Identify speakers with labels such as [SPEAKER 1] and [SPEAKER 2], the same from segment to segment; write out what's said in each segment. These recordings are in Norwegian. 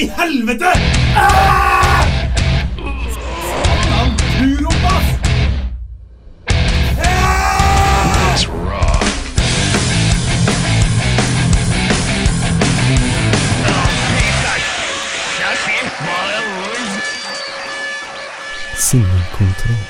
[SPEAKER 1] i helvete! Ah! Satan, Turopass!
[SPEAKER 2] Sinnekontroll.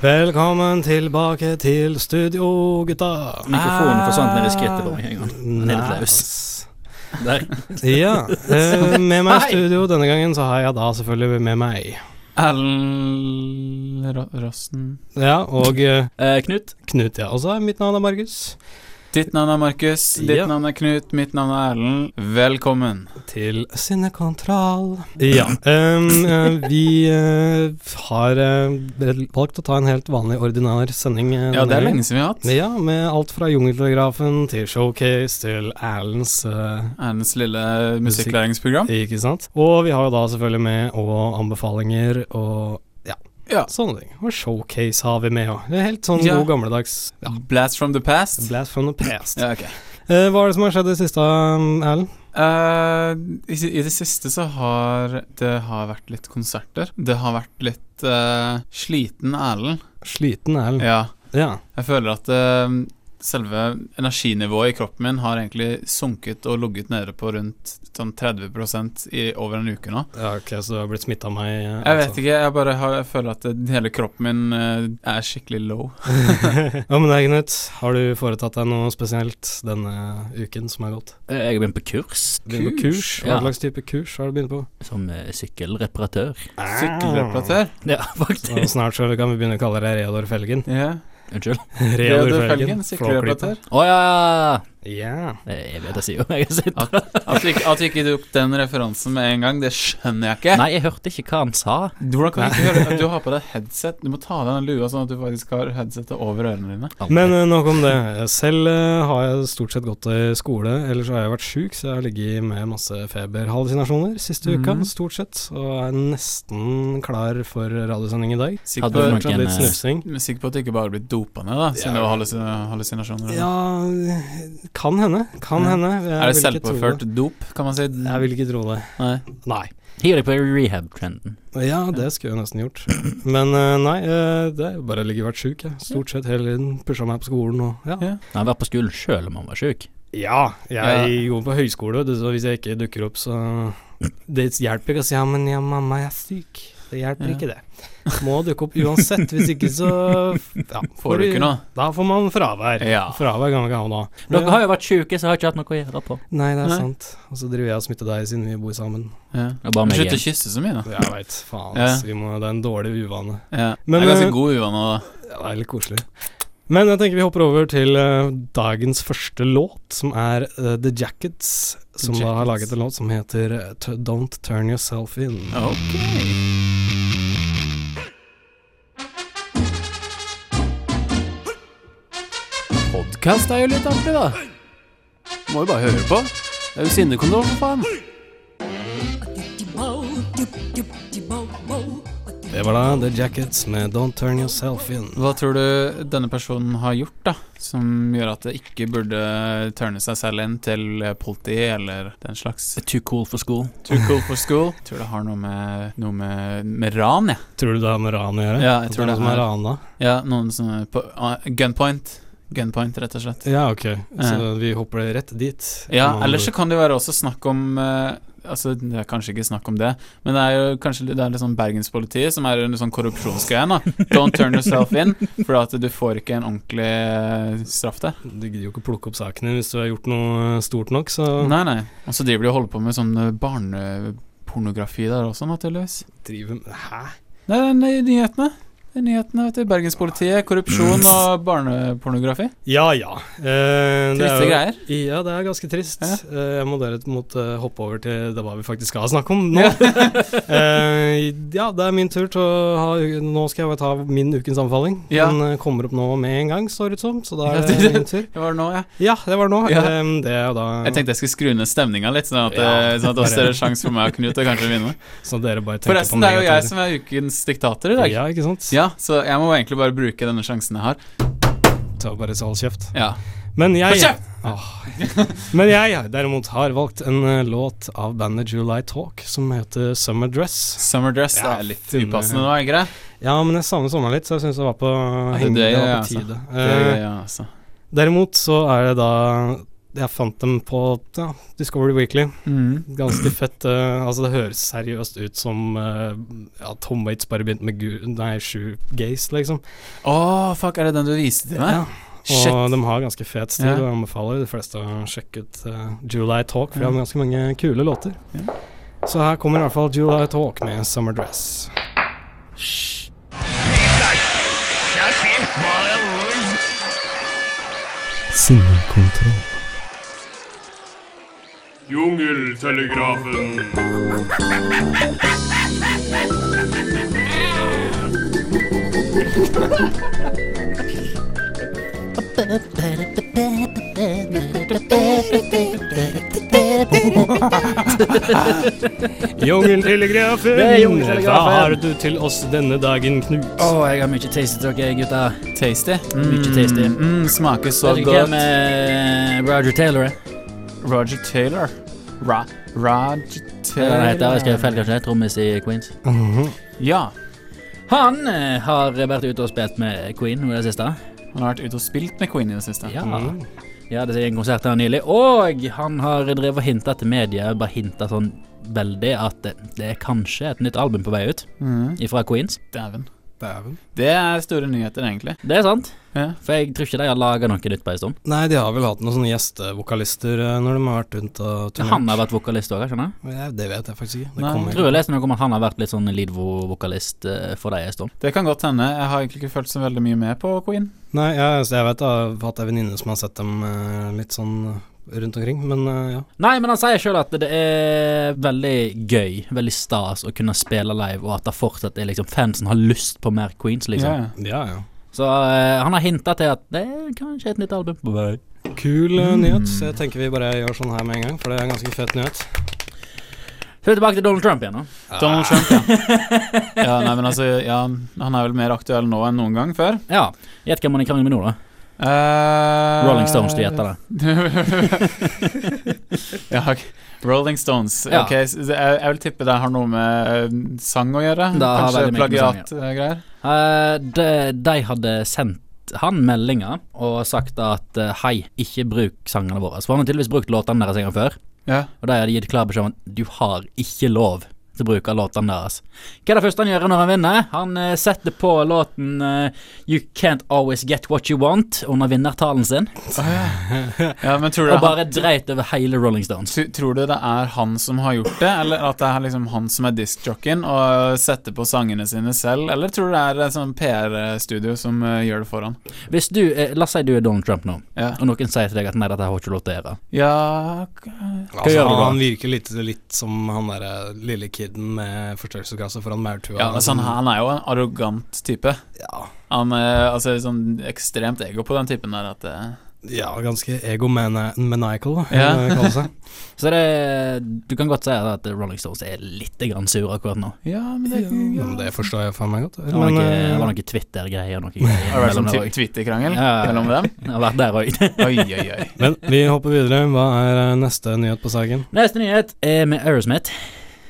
[SPEAKER 2] Velkommen tilbake til studio, gutta.
[SPEAKER 3] Mikrofonen forsvant ned i skrittet på meg en gang. Helt
[SPEAKER 2] Nei,
[SPEAKER 3] løs.
[SPEAKER 2] ass.
[SPEAKER 3] Der.
[SPEAKER 2] Ja. eh, Med meg i
[SPEAKER 3] Hei.
[SPEAKER 2] studio denne gangen så har jeg da selvfølgelig med meg
[SPEAKER 4] Erlend Ro- Rossen
[SPEAKER 2] Ja, og eh,
[SPEAKER 3] Eh, Knut,
[SPEAKER 2] Knut, ja. Og så er mitt navn er Markus.
[SPEAKER 4] Ditt navn er Markus, ditt
[SPEAKER 2] Ja.
[SPEAKER 4] navn er Knut, mitt navn er Erlend. Velkommen.
[SPEAKER 2] Til sinnekontroll. Ja. em, eh, vi eh, har eh, valgt å ta en helt vanlig, ordinær sending. eh,
[SPEAKER 4] Ja,
[SPEAKER 2] denne
[SPEAKER 4] det er
[SPEAKER 2] gangen.
[SPEAKER 4] lenge siden vi har hatt.
[SPEAKER 2] Ja, med alt fra Jungeltelegrafen til Showcase til Erlends eh,
[SPEAKER 4] Erlends lille musikklæringsprogram.
[SPEAKER 2] Ikke sant? Og vi har jo da selvfølgelig med og anbefalinger og ja,
[SPEAKER 4] Ja.
[SPEAKER 2] sånne ting. Og showcase har vi med òg. Helt sånn
[SPEAKER 4] Ja.
[SPEAKER 2] god gammeldags ja,
[SPEAKER 4] Blast from the past.
[SPEAKER 2] blast from the past.
[SPEAKER 4] Ja, ok.
[SPEAKER 2] Eh, hva er det som har skjedd i det siste, um, Erlend?
[SPEAKER 4] Eh, i, I det siste så har det har vært litt konserter. Det har vært litt eh, sliten Erlend.
[SPEAKER 2] Sliten Erlend.
[SPEAKER 4] Ja.
[SPEAKER 2] Ja.
[SPEAKER 4] Jeg føler at eh, selve energinivået i kroppen min har egentlig sunket og ligget nede på rundt sånn 30 i over en uke nå.
[SPEAKER 2] ja. Ok, så du har blitt smitta av meg? eh,
[SPEAKER 4] Jeg vet ikke, jeg bare har, jeg føler at det- hele kroppen min eh, er skikkelig low.
[SPEAKER 2] altså. Hva med deg, Knut? Har du foretatt deg noe spesielt denne uken som er gått?
[SPEAKER 3] eh, jeg har begynt på kurs
[SPEAKER 2] Begynt på kurs? Hva
[SPEAKER 3] Ja.
[SPEAKER 2] slags type kurs har du begynt på?
[SPEAKER 3] som eh, sykkelreparatør.
[SPEAKER 4] Sykkelreparatør.
[SPEAKER 3] Ja,
[SPEAKER 2] Ah. Og
[SPEAKER 3] faktisk.
[SPEAKER 2] snart så kan vi begynne å kalle deg Reodor Felgen.
[SPEAKER 4] Ja.
[SPEAKER 3] Unnskyld.
[SPEAKER 4] Reodor Felgen, sykkelreparatør.
[SPEAKER 3] Å ja!
[SPEAKER 2] Ja.
[SPEAKER 3] Eh, Jeg vet jeg sier jo jeg har sett.
[SPEAKER 4] At du, ikke- at du ikke tok den referansen med en gang, det skjønner jeg ikke.
[SPEAKER 3] Nei, jeg hørte ikke hva han sa.
[SPEAKER 4] Hvordan kan du ikke høre at du har på deg headset? Du må ta av deg den lua sånn at du faktisk har headsetet over ørene dine.
[SPEAKER 3] Aldri.
[SPEAKER 2] Men eh, nok om det. Selv eh, har jeg stort sett gått i skole, ellers har jeg vært sjuk, så jeg har ligget med masse feberhallusinasjoner siste uka,
[SPEAKER 4] Mhm.
[SPEAKER 2] stort sett. Og er nesten klar for radiosending i dag.
[SPEAKER 4] Sikker
[SPEAKER 3] Hadde
[SPEAKER 2] Det
[SPEAKER 3] du
[SPEAKER 4] på,
[SPEAKER 2] har
[SPEAKER 3] noen-
[SPEAKER 2] vært litt
[SPEAKER 3] eh,
[SPEAKER 2] snufsing.
[SPEAKER 4] men sikker på at du ikke bare har blitt dopa ned, da, siden
[SPEAKER 2] Ja.
[SPEAKER 4] det var hallusin- hallusinasjoner. eller?
[SPEAKER 2] Ja, kan hende. Kan
[SPEAKER 4] Ja.
[SPEAKER 2] hende. Jeg
[SPEAKER 4] Er det
[SPEAKER 2] vil ikke tro
[SPEAKER 4] selvpåført dop, kan man si?
[SPEAKER 2] Jeg vil ikke tro det.
[SPEAKER 4] Nei.
[SPEAKER 2] Nei.
[SPEAKER 3] Hiv deg på rehab-trenden.
[SPEAKER 2] Ja, det skulle jeg nesten gjort. Men eh, nei, eh, det er jo bare å ligge og vært sjuk, jeg. Stort sett hele tiden. Pusha meg på skolen og ja.
[SPEAKER 4] Ja.
[SPEAKER 3] Han har vært på skolen sjøl om han var sjuk.
[SPEAKER 2] Ja, jeg
[SPEAKER 4] Ja.
[SPEAKER 2] går på høyskole, vet du, så hvis jeg ikke dukker opp, så Det hjelper ikke å si 'ja, men ja, mamma, jeg er syk'. Det hjelper
[SPEAKER 4] Ja.
[SPEAKER 2] ikke, det. Må dukke opp uansett, hvis ikke så ja,
[SPEAKER 4] Får du ikke noe?
[SPEAKER 2] Da får man fravær.
[SPEAKER 4] Ja.
[SPEAKER 2] Fravær kan man ikke ha da.
[SPEAKER 3] Dere har jo vært sjuke, så har jeg ikke hatt noe å gjøre på.
[SPEAKER 2] Nei, det er
[SPEAKER 4] Nei.
[SPEAKER 2] sant. Og så driver jeg og smitter deg siden vi bor sammen.
[SPEAKER 4] Ja.
[SPEAKER 3] Det er bare meg
[SPEAKER 4] Slutt å
[SPEAKER 3] igjen.
[SPEAKER 4] kysse så mye, da.
[SPEAKER 2] Jeg veit, faen.
[SPEAKER 4] Ja.
[SPEAKER 2] ass, Vi må, det er en dårlig uvane.
[SPEAKER 4] Ja.
[SPEAKER 2] Men,
[SPEAKER 4] jeg er
[SPEAKER 2] eh,
[SPEAKER 4] ganske god uvane, da.
[SPEAKER 2] Ja, det er litt koselig. Men jeg tenker vi hopper over til eh, dagens første låt, som er eh, The Jackets. Som da har
[SPEAKER 4] Jackets.
[SPEAKER 2] laget en låt som heter eh, T- Don't Turn Yourself In.
[SPEAKER 4] Ok.
[SPEAKER 5] Podkast er jo litt artig, da. Må jo bare høre på. Det er jo sinnekontroll, for faen.
[SPEAKER 2] Det var da The Jackets med Don't Turn Yourself In.
[SPEAKER 4] Hva tror du denne personen har gjort, da, som gjør at det ikke burde tørne seg selv inn til politi eller den slags?
[SPEAKER 3] Too cool for school.
[SPEAKER 4] Too cool for school. Jeg tror det har noe med, noe med, med ran, jeg.
[SPEAKER 2] Tror du det har med ran å gjøre?
[SPEAKER 4] Ja, jeg
[SPEAKER 2] At
[SPEAKER 4] tror det
[SPEAKER 2] det er noen
[SPEAKER 4] er-
[SPEAKER 2] som er rana?
[SPEAKER 4] Ja. noen sånne på, ah, Gunpoint. Gunpoint, rett og slett.
[SPEAKER 2] Ja, ok. Så vi hopper rett dit.
[SPEAKER 4] Ja,
[SPEAKER 2] Man-
[SPEAKER 4] eller så kan det jo være også snakk om eh, Altså, det er kanskje ikke snakk om det, men det er jo kanskje det er litt sånn bergenspolitiet som er under sånn korrupsjonsgreie, da. Don't turn yourself in, for at du får ikke en ordentlig eh, straff der.
[SPEAKER 2] Du gidder jo ikke plukke opp sakene hvis du har gjort noe eh, stort nok, så
[SPEAKER 4] Nei, nei. Og så driver de og holder på med sånn eh, barnepornografi der også, naturligvis.
[SPEAKER 2] driver med Hæ?
[SPEAKER 4] Nei, det er nyhetene. Det er nyhetene, vet du. Bergenspolitiet, korrupsjon og barnepornografi.
[SPEAKER 2] Ja ja. Eh, det er
[SPEAKER 4] Triste
[SPEAKER 2] jo-
[SPEAKER 4] greier.
[SPEAKER 2] Ja, det er ganske trist.
[SPEAKER 4] Ja.
[SPEAKER 2] Eh, Jeg må derimot eh, hoppe over til det hva vi faktisk skal snakke om nå. Eh, ja, det er min tur til å ha Nå skal jeg ta min ukens anbefaling.
[SPEAKER 4] Ja.
[SPEAKER 2] Den eh, kommer opp nå med en gang, står det ut som, så da er det min tur.
[SPEAKER 4] Det var det nå, ja.
[SPEAKER 2] Ja, det var nå.
[SPEAKER 4] Ja.
[SPEAKER 2] Eh, det er da
[SPEAKER 4] Jeg tenkte jeg skulle skru ned stemninga litt, sånn at,
[SPEAKER 2] Ja.
[SPEAKER 4] eh, sånn at det også er en sjanse for meg og Knut å kanskje vinne.
[SPEAKER 2] Så dere bare tenker
[SPEAKER 4] Forresten,
[SPEAKER 2] på
[SPEAKER 4] det er jo jeg
[SPEAKER 2] negativer.
[SPEAKER 4] som er ukens diktator i dag. Ja.
[SPEAKER 2] Ja, ikke sant?
[SPEAKER 4] så jeg må egentlig bare bruke denne sjansen jeg har.
[SPEAKER 2] Ta bare så hold kjeft.
[SPEAKER 4] Ja.
[SPEAKER 2] Men jeg
[SPEAKER 4] Hold kjeft!
[SPEAKER 2] Men jeg derimot har valgt en eh, låt av bandet July Talk som heter Summer Dress.
[SPEAKER 4] Summer dress det
[SPEAKER 2] Ja,
[SPEAKER 4] er litt
[SPEAKER 2] finne-
[SPEAKER 4] upassende nå, er ikke det?
[SPEAKER 2] Ja, men jeg savner sommeren litt, så jeg syns det var på,
[SPEAKER 4] det er det,
[SPEAKER 2] det
[SPEAKER 4] ja,
[SPEAKER 2] var på
[SPEAKER 4] altså.
[SPEAKER 2] tide.
[SPEAKER 4] Det er
[SPEAKER 2] Eh,
[SPEAKER 4] gøy, ja, altså.
[SPEAKER 2] derimot så er det da jeg fant dem på ja, Discovery Weekly.
[SPEAKER 4] Mm.
[SPEAKER 2] Ganske fett. eh, altså Det høres seriøst ut som eh, ja, Tom Waits bare begynte med gu Nei, shoegaze, liksom.
[SPEAKER 4] Åh, fuck, er det den du viste til meg?
[SPEAKER 2] Ja.
[SPEAKER 4] Shit.
[SPEAKER 2] Og de har ganske fet stil,
[SPEAKER 4] Ja.
[SPEAKER 2] og jeg anbefaler de fleste å sjekke ut eh, July Talk, for de har ganske mange kule låter.
[SPEAKER 4] Ja.
[SPEAKER 2] Så her kommer i hvert fall July Talk med Summer Dress. Sinnekontroll.
[SPEAKER 1] Jungeltelegrafen.
[SPEAKER 2] Jungeltelegrafen,
[SPEAKER 3] Det er jungeltelegrafen.
[SPEAKER 2] hva har du til oss denne dagen, Knut?
[SPEAKER 3] Å, jeg har mye tasty talk, jeg, gutta.
[SPEAKER 4] Tasty.
[SPEAKER 3] Mykje tasty.
[SPEAKER 4] Mm, smaker så
[SPEAKER 3] Vet du
[SPEAKER 4] godt.
[SPEAKER 3] hvem eh, Roger Taylor er?
[SPEAKER 4] Roger Taylor. Ra Roger
[SPEAKER 3] Hva
[SPEAKER 4] Taylor.
[SPEAKER 3] heter han? Jeg skrev feil, kanskje. Trommis i Queens.
[SPEAKER 2] Mhm.
[SPEAKER 4] Ja.
[SPEAKER 3] Han eh, har vært ute og spilt med Queen nå i det siste.
[SPEAKER 4] Han har vært ute og spilt med Queen i det siste.
[SPEAKER 3] Ja. Ja, det er en konsert her nylig. Og han har drevet og hinta til media, bare hinta sånn veldig, at det, det er kanskje et nytt album på vei ut
[SPEAKER 4] Mhm.
[SPEAKER 3] ifra Queens.
[SPEAKER 4] Dæven.
[SPEAKER 2] Dæven.
[SPEAKER 4] Det er store nyheter, egentlig.
[SPEAKER 3] Det er sant.
[SPEAKER 4] Ja.
[SPEAKER 3] For jeg tror ikke de har laga noe nytt på en stund.
[SPEAKER 2] Nei, de har vel hatt noen sånne gjestevokalister eh, når de har vært rundt og turnert.
[SPEAKER 3] Han har vært vokalist òg, skjønner jeg.
[SPEAKER 2] Ja, Det vet jeg faktisk ikke. Det
[SPEAKER 4] Nei,
[SPEAKER 2] kommer
[SPEAKER 3] Jeg
[SPEAKER 2] ikke.
[SPEAKER 3] Tror jeg leste noe om at han har vært litt sånn lead-vokalist for dem en stund.
[SPEAKER 4] Det kan godt hende. Jeg har egentlig ikke fulgt så veldig mye med på Queen.
[SPEAKER 2] Nei, jeg, så jeg vet av at det er venninne som har sett dem eh, litt sånn eh, rundt omkring, men eh, ja.
[SPEAKER 3] Nei, men han sier sjøl at det er veldig gøy, veldig stas å kunne spille live, og at det fortsatt er liksom fansen har lyst på mer Queens, liksom.
[SPEAKER 4] Ja, ja.
[SPEAKER 2] Ja, ja.
[SPEAKER 3] Så eh, han har hinta til at det er kanskje et nytt album på vei.
[SPEAKER 2] Kul eh,
[SPEAKER 4] Mm.
[SPEAKER 2] nyhet, så jeg tenker vi bare gjør sånn her med en gang, for det er en ganske fet nyhet.
[SPEAKER 3] Så er vi tilbake til Donald Trump igjen, nå.
[SPEAKER 4] Donald Trump, ja. Ah. ja. Nei, men altså, ja, han er vel mer aktuell nå enn noen gang før.
[SPEAKER 3] Ja. Gjett hvem han er i krangel med nå, da.
[SPEAKER 4] Eh,
[SPEAKER 3] Rolling Stones, du gjetter det.
[SPEAKER 4] ja, ok. Rolling Stones.
[SPEAKER 3] Ja.
[SPEAKER 4] Ok, s- det- jeg, jeg vil tippe det har noe med eh, sang å gjøre.
[SPEAKER 3] Det har
[SPEAKER 4] Kanskje
[SPEAKER 3] veldig mye med sang å gjøre.
[SPEAKER 4] plagiatgreier.
[SPEAKER 3] Eh, de, de hadde sendt han meldinger og sagt at eh, hei, ikke bruk sangene våre. For han har tydeligvis brukt låtene deres en gang før,
[SPEAKER 4] Ja.
[SPEAKER 3] og de hadde gitt klar beskjed om at du har ikke lov til å bruke låtene deres. Hva er det første han gjør når han vinner? Han eh, setter på låten eh, You Can't Always Get What You Want under vinnertalen sin,
[SPEAKER 4] ja, men tror
[SPEAKER 3] og
[SPEAKER 4] du, det er han,
[SPEAKER 3] bare dreit over hele Rolling Stones.
[SPEAKER 4] tr- tror du det er han som har gjort det, eller at det er liksom han som er diskjocken og setter på sangene sine selv, eller tror du det er et sånn PR-studio som eh, gjør det for han?
[SPEAKER 3] Hvis du, eh, La oss si du er Donald Trump nå,
[SPEAKER 4] Ja,
[SPEAKER 3] og noen sier til deg at nei, dette har ikke lov til å gjøre.
[SPEAKER 4] ja ok.
[SPEAKER 2] Altså,
[SPEAKER 3] gjør du da?
[SPEAKER 2] han virker litt, litt som han der eh, lille kiden med forstørrelsesglasset foran maurtua.
[SPEAKER 4] ja
[SPEAKER 3] sånn
[SPEAKER 4] altså, han, han er jo en arrogant type.
[SPEAKER 2] ja,
[SPEAKER 4] Han er altså, sånn ekstremt ego på den typen der at eh,
[SPEAKER 2] ja, ganske egomaniacal, da,
[SPEAKER 4] Ja.
[SPEAKER 2] kan det kalles det.
[SPEAKER 3] Så det, du kan godt si at Rolling Stones er litt grann sur akkurat nå.
[SPEAKER 4] Ja, men det,
[SPEAKER 2] Ja, men det forstår jeg faen meg godt.
[SPEAKER 3] Det var noe, det var
[SPEAKER 2] Men, eh,
[SPEAKER 3] noe Twitter-greier og noe greier.
[SPEAKER 4] Har det vært
[SPEAKER 3] mellom
[SPEAKER 4] sånn
[SPEAKER 3] der
[SPEAKER 4] twi-
[SPEAKER 3] også.
[SPEAKER 4] Twitter-krangel
[SPEAKER 3] Ja, ja, ja.
[SPEAKER 4] mellom dem?
[SPEAKER 3] Jeg har vært der også.
[SPEAKER 4] Oi, oi, oi.
[SPEAKER 2] men vi hopper videre. Hva er eh, neste nyhet på saken?
[SPEAKER 3] Neste nyhet er med Aerosmith.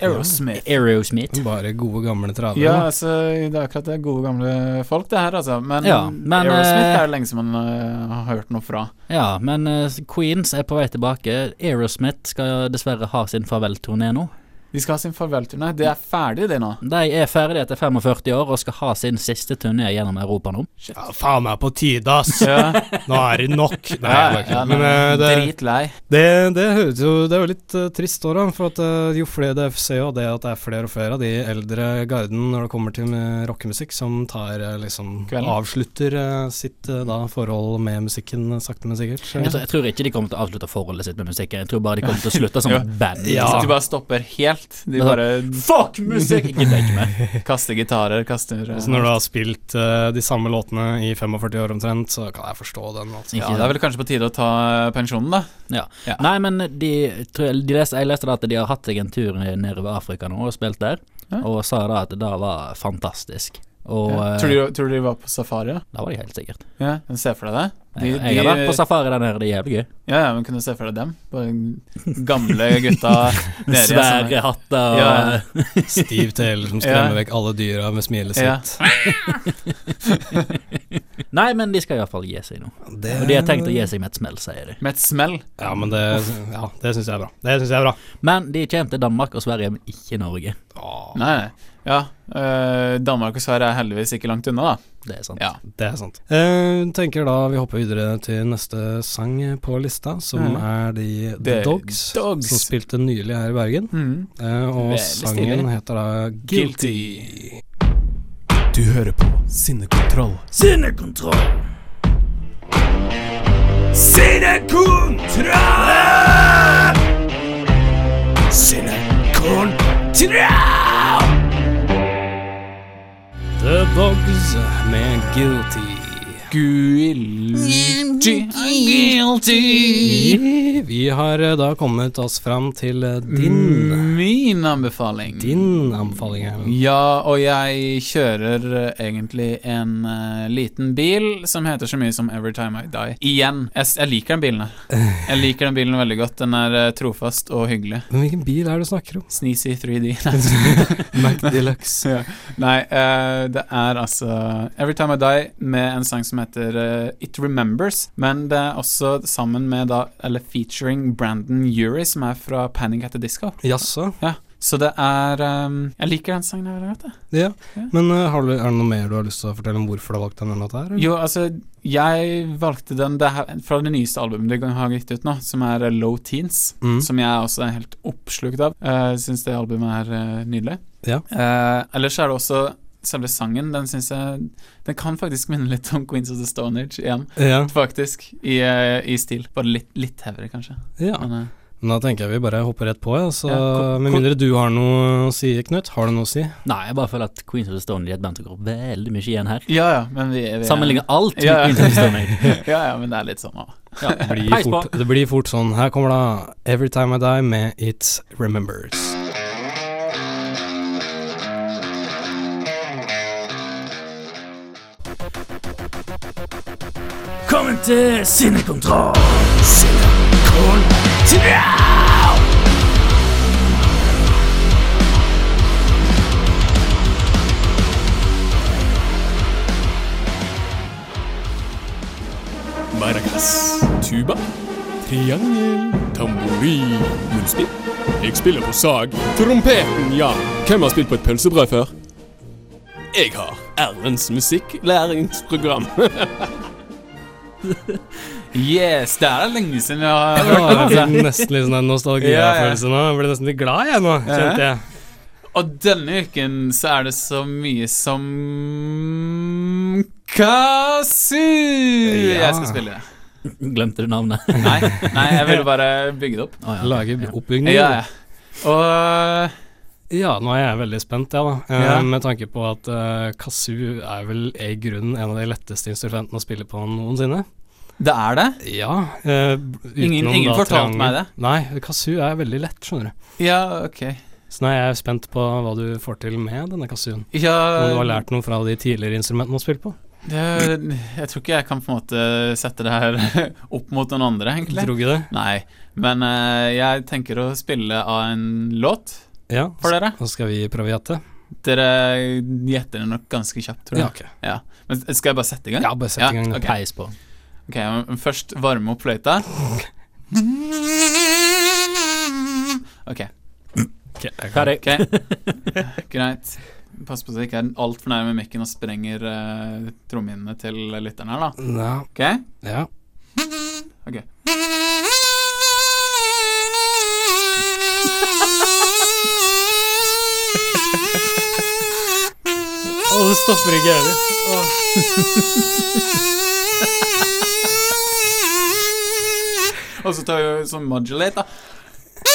[SPEAKER 4] Aerosmith.
[SPEAKER 3] Aerosmith.
[SPEAKER 2] Bare gode, gamle travere.
[SPEAKER 4] Ja,
[SPEAKER 2] da.
[SPEAKER 4] altså, det er akkurat det. Gode, gamle folk, det her, altså. Men,
[SPEAKER 3] Ja, men,
[SPEAKER 4] Aerosmith
[SPEAKER 3] eh,
[SPEAKER 4] er det lenge som man eh, har hørt noe fra.
[SPEAKER 3] Ja, men eh, Queens er på vei tilbake. Aerosmith skal dessverre ha sin farvelturné nå.
[SPEAKER 4] De skal ha sin farvelturné. Det er ferdig, det nå.
[SPEAKER 3] De er ferdige etter 45 år og skal ha sin siste turné gjennom Europa nå.
[SPEAKER 2] Ja, faen meg på tide, ass!
[SPEAKER 4] Ja,
[SPEAKER 2] Nå er det nok! Nei, det var ikke.
[SPEAKER 4] men,
[SPEAKER 2] Men eh, det,
[SPEAKER 4] Dritlei.
[SPEAKER 2] det, det høres jo Det er jo litt eh, trist òg, da. For at eh, jo flere det ser jo det at det er flere og flere av de eldre garden når det kommer til eh, rockemusikk, som tar eh, liksom
[SPEAKER 4] Kvelden.
[SPEAKER 2] Avslutter eh, sitt eh, da forhold med musikken eh, sakte, men sikkert.
[SPEAKER 3] Jeg tror, jeg tror ikke de kommer til å avslutte forholdet sitt med musikken. Jeg tror bare de kommer til å slutte som
[SPEAKER 4] Ja.
[SPEAKER 3] band. liksom.
[SPEAKER 2] Ja.
[SPEAKER 4] Så de bare stopper helt. De
[SPEAKER 3] Men da-
[SPEAKER 4] bare
[SPEAKER 3] Fuck musikk! Jeg gidder ikke mer.
[SPEAKER 4] kaster gitarer, kaster eh,
[SPEAKER 2] Så når du har spilt eh, de samme låtene i 45 år omtrent, så kan jeg forstå den. Altså.
[SPEAKER 4] Ja, det er vel kanskje på tide å ta eh, pensjonen, da.
[SPEAKER 3] Nei, men de, tror jeg- de leste, jeg leste da at de har hatt seg en tur nedover Afrika nå og spilt der,
[SPEAKER 4] Ja.
[SPEAKER 3] og sa da at det da var fantastisk. Og
[SPEAKER 4] Ja.
[SPEAKER 3] eh,
[SPEAKER 4] Tror, du, tror du de var på safari? da?
[SPEAKER 3] da var de helt sikkert.
[SPEAKER 4] Ja, men Se for deg det. De,
[SPEAKER 3] jeg, jeg har vært
[SPEAKER 4] de,
[SPEAKER 3] på safari der nede, det er jævlig gøy.
[SPEAKER 4] ja, ja, men kunne du se for deg dem? Bare gamle gutta nede i sånne-
[SPEAKER 3] Svære hatter og
[SPEAKER 4] Ja.
[SPEAKER 2] Stiv tele som
[SPEAKER 4] Ja.
[SPEAKER 2] skremmer vekk alle dyra med smilet
[SPEAKER 4] Ja.
[SPEAKER 2] sitt.
[SPEAKER 3] Nei, men de skal iallfall gi seg nå.
[SPEAKER 2] Det-
[SPEAKER 3] Og de har tenkt å gi seg med et smell, sier de.
[SPEAKER 4] Med et smell.
[SPEAKER 2] Ja, men det, ja, det syns jeg er bra. Det syns jeg er bra.
[SPEAKER 3] Men de kommer til Danmark og Sverige, men ikke Norge.
[SPEAKER 2] Åh,
[SPEAKER 4] Nei, nei. Ja. eh, Danmark og Sverige er heldigvis ikke langt unna, da.
[SPEAKER 3] Det er sant.
[SPEAKER 4] Ja.
[SPEAKER 2] det er sant. Eh, tenker da vi hopper videre til neste sang på lista, som
[SPEAKER 4] Mhm.
[SPEAKER 2] er de The
[SPEAKER 4] The
[SPEAKER 2] Dogs,
[SPEAKER 4] Dogs.
[SPEAKER 2] som spilte nylig her i Bergen.
[SPEAKER 4] Mm.
[SPEAKER 2] Eh, og
[SPEAKER 4] Veldig
[SPEAKER 2] sangen
[SPEAKER 4] stilig.
[SPEAKER 2] heter da Guilty.
[SPEAKER 1] Du hører på Sinnekontroll.
[SPEAKER 3] Sinnekontroll!
[SPEAKER 1] Sinnekontroll! Sinnekontroll!
[SPEAKER 2] The Dogs med Guilty.
[SPEAKER 4] Guilty.
[SPEAKER 2] Vi har eh, da kommet oss fram til eh, din,
[SPEAKER 4] Min anbefaling.
[SPEAKER 2] din anbefaling. Erlend.
[SPEAKER 4] Ja, og jeg kjører eh, egentlig en eh, liten bil som heter så mye som Every Time I Die. Igjen. Jeg, s- jeg liker den bilen her. Jeg liker den bilen veldig godt. Den er eh, trofast og hyggelig.
[SPEAKER 2] Men hvilken bil er det du snakker om?
[SPEAKER 4] Sneezy 3D.
[SPEAKER 2] Mac Deluxe.
[SPEAKER 4] ja. Nei, eh, det er altså Every Time I Die med en sang som heter eh, It Remembers. Men det er også sammen med, da, eller featuring Brandon Urie, som er fra Panic at the Disco.
[SPEAKER 2] Jaså?
[SPEAKER 4] Ja, så det er ehm, Jeg liker den sangen her veldig godt. jeg.
[SPEAKER 2] Ja.
[SPEAKER 4] Ja.
[SPEAKER 2] Men eh, har du, er det noe mer du har lyst til å fortelle om hvorfor du har valgt denne låta? her? eller?
[SPEAKER 4] Jo, altså, jeg valgte den det her, fra det nyeste albumet de har gitt ut nå, som er eh, Low Teens.
[SPEAKER 2] Mm.
[SPEAKER 4] Som jeg også er helt oppslukt av. Eh, Jeg syns det albumet er eh, nydelig.
[SPEAKER 2] Ja.
[SPEAKER 4] Eh, ellers er det også selve sangen. Den syns jeg Den kan faktisk minne litt om Queens of the Stone Age igjen,
[SPEAKER 2] Ja.
[SPEAKER 4] faktisk. I, eh, i stil. Bare litt, litt hevere, kanskje.
[SPEAKER 2] ja.
[SPEAKER 4] Men, eh,
[SPEAKER 2] Men da tenker jeg vi bare hopper rett på, ja. Så,
[SPEAKER 4] Ja, ko-
[SPEAKER 2] med
[SPEAKER 4] ko-
[SPEAKER 2] mindre du har noe å si, Knut. Har du noe å si?
[SPEAKER 3] Nei, jeg bare føler at Queens of the Stone Age er et band som går veldig mye igjen her.
[SPEAKER 4] ja ja, men vi, vi
[SPEAKER 3] Sammenligner alt med
[SPEAKER 4] Ja, ja.
[SPEAKER 3] Queens of the Stone Age.
[SPEAKER 4] Ja ja, men det er litt sånn òg.
[SPEAKER 3] Ja,
[SPEAKER 2] Det blir, fort, det blir fort sånn. Her kommer da Every Time I Die med It Remembers.
[SPEAKER 3] Velkommen til Sinnekontroll!
[SPEAKER 1] Maracas. Tuba. Triangel. Tamburin. Munnspill. Jeg spiller på sag. Trompeten, ja. Hvem har spilt på et pølsebrød før? Jeg har Erlends musikklæringsprogram.
[SPEAKER 4] Yes, det er lenge siden vi har
[SPEAKER 2] Åh, Jeg blir nesten litt sånn en nostalgifølelse nå. Jeg blir nesten litt glad jeg nå, kjente jeg.
[SPEAKER 4] Og denne uken så er det så mye som Kazoo!
[SPEAKER 2] Ja.
[SPEAKER 4] Jeg skal spille det.
[SPEAKER 3] Glemte du navnet?
[SPEAKER 4] Nei, nei, jeg ville bare bygge det opp.
[SPEAKER 3] Å, ja.
[SPEAKER 2] Lage oppbygning.
[SPEAKER 4] Ja, ja. Og
[SPEAKER 2] Ja, nå er jeg veldig spent, jeg, da. Eh,
[SPEAKER 4] Ja.
[SPEAKER 2] Med tanke på at uh, kazoo er vel i grunnen en av de letteste instrumentene å spille på noensinne.
[SPEAKER 4] det er det?
[SPEAKER 2] Ja. eh, utenom
[SPEAKER 4] Ingen- ingen
[SPEAKER 2] da
[SPEAKER 4] fortalte
[SPEAKER 2] triangel.
[SPEAKER 4] meg det.
[SPEAKER 2] Nei, kazoo er veldig lett, skjønner du.
[SPEAKER 4] Ja, ok.
[SPEAKER 2] Så nå er jeg spent på hva du får til med denne kazooen.
[SPEAKER 4] Ja,
[SPEAKER 2] Om du har
[SPEAKER 4] Eh,
[SPEAKER 2] lært noe fra de tidligere instrumentene du har spilt på?
[SPEAKER 4] Det, jeg tror ikke jeg kan på en måte sette det her opp mot noen andre, egentlig.
[SPEAKER 2] Tror ikke det?
[SPEAKER 4] Nei, men eh, jeg tenker å spille av en låt
[SPEAKER 2] Ja.
[SPEAKER 4] for dere.
[SPEAKER 2] Så skal vi prøve å gjette?
[SPEAKER 4] Dere gjetter det nok ganske kjapt, tror jeg.
[SPEAKER 2] ok.
[SPEAKER 4] Men skal jeg bare sette i gang?
[SPEAKER 2] Ja, bare sett i gang.
[SPEAKER 4] ok.
[SPEAKER 3] Peis på.
[SPEAKER 4] Ok, men først varme opp fløyta. Ok,
[SPEAKER 2] Ok, jeg kan-
[SPEAKER 3] Ferdig.
[SPEAKER 4] ok. greit. Pass på så jeg ikke er altfor nærme mikken og sprenger uh, trommehinnene til lytteren her, da.
[SPEAKER 2] Ja.
[SPEAKER 4] Ok?
[SPEAKER 2] ja.
[SPEAKER 4] Ok.
[SPEAKER 2] Å, det stopper ikke heller.
[SPEAKER 4] Og så tar vi sånn modulate, da.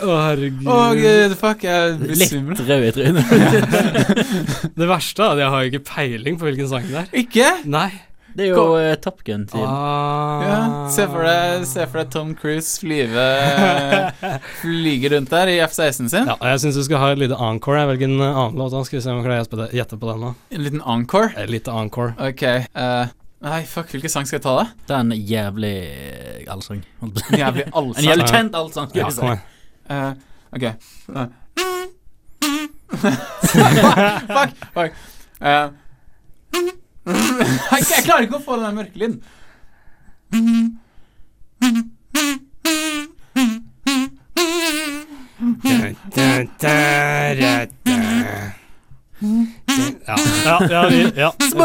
[SPEAKER 2] Å, herregud.
[SPEAKER 4] Å, gud, fuck, jeg
[SPEAKER 3] Litt
[SPEAKER 4] besvimler.
[SPEAKER 3] rød i trynet.
[SPEAKER 2] Det verste er at jeg har jo ikke peiling på hvilken sang det er.
[SPEAKER 4] Ikke?
[SPEAKER 2] Nei.
[SPEAKER 3] Det er jo
[SPEAKER 4] Kom.
[SPEAKER 3] eh, Top Gun-tiden.
[SPEAKER 2] Ah.
[SPEAKER 4] Ja, se for deg, se for deg Tom Cruise flyve Flyge rundt der i F-16 sin.
[SPEAKER 2] Ja, jeg syns du skal ha et lite encore. Jeg velger en eh, annen låt. da. Skal vi se om jeg klarer å gjette på det- gjette på den nå.
[SPEAKER 4] En liten encore.
[SPEAKER 2] Et lite encore.
[SPEAKER 4] Ok. eh, nei, fuck, hvilken sang skal jeg ta, da?
[SPEAKER 3] Det er en jævlig eh, allsang. holdt på å si.
[SPEAKER 4] En jævlig
[SPEAKER 3] En
[SPEAKER 4] allsang.
[SPEAKER 3] jævlig kjent allsang. skal
[SPEAKER 2] Ja,
[SPEAKER 3] jeg si.
[SPEAKER 2] kom igjen.
[SPEAKER 4] Eh, ok. Eh. fuck, fuck. Eh, jeg, jeg klarer ikke å få den der mørke lyden.
[SPEAKER 2] Ja, ja, ja, vi- ja. Små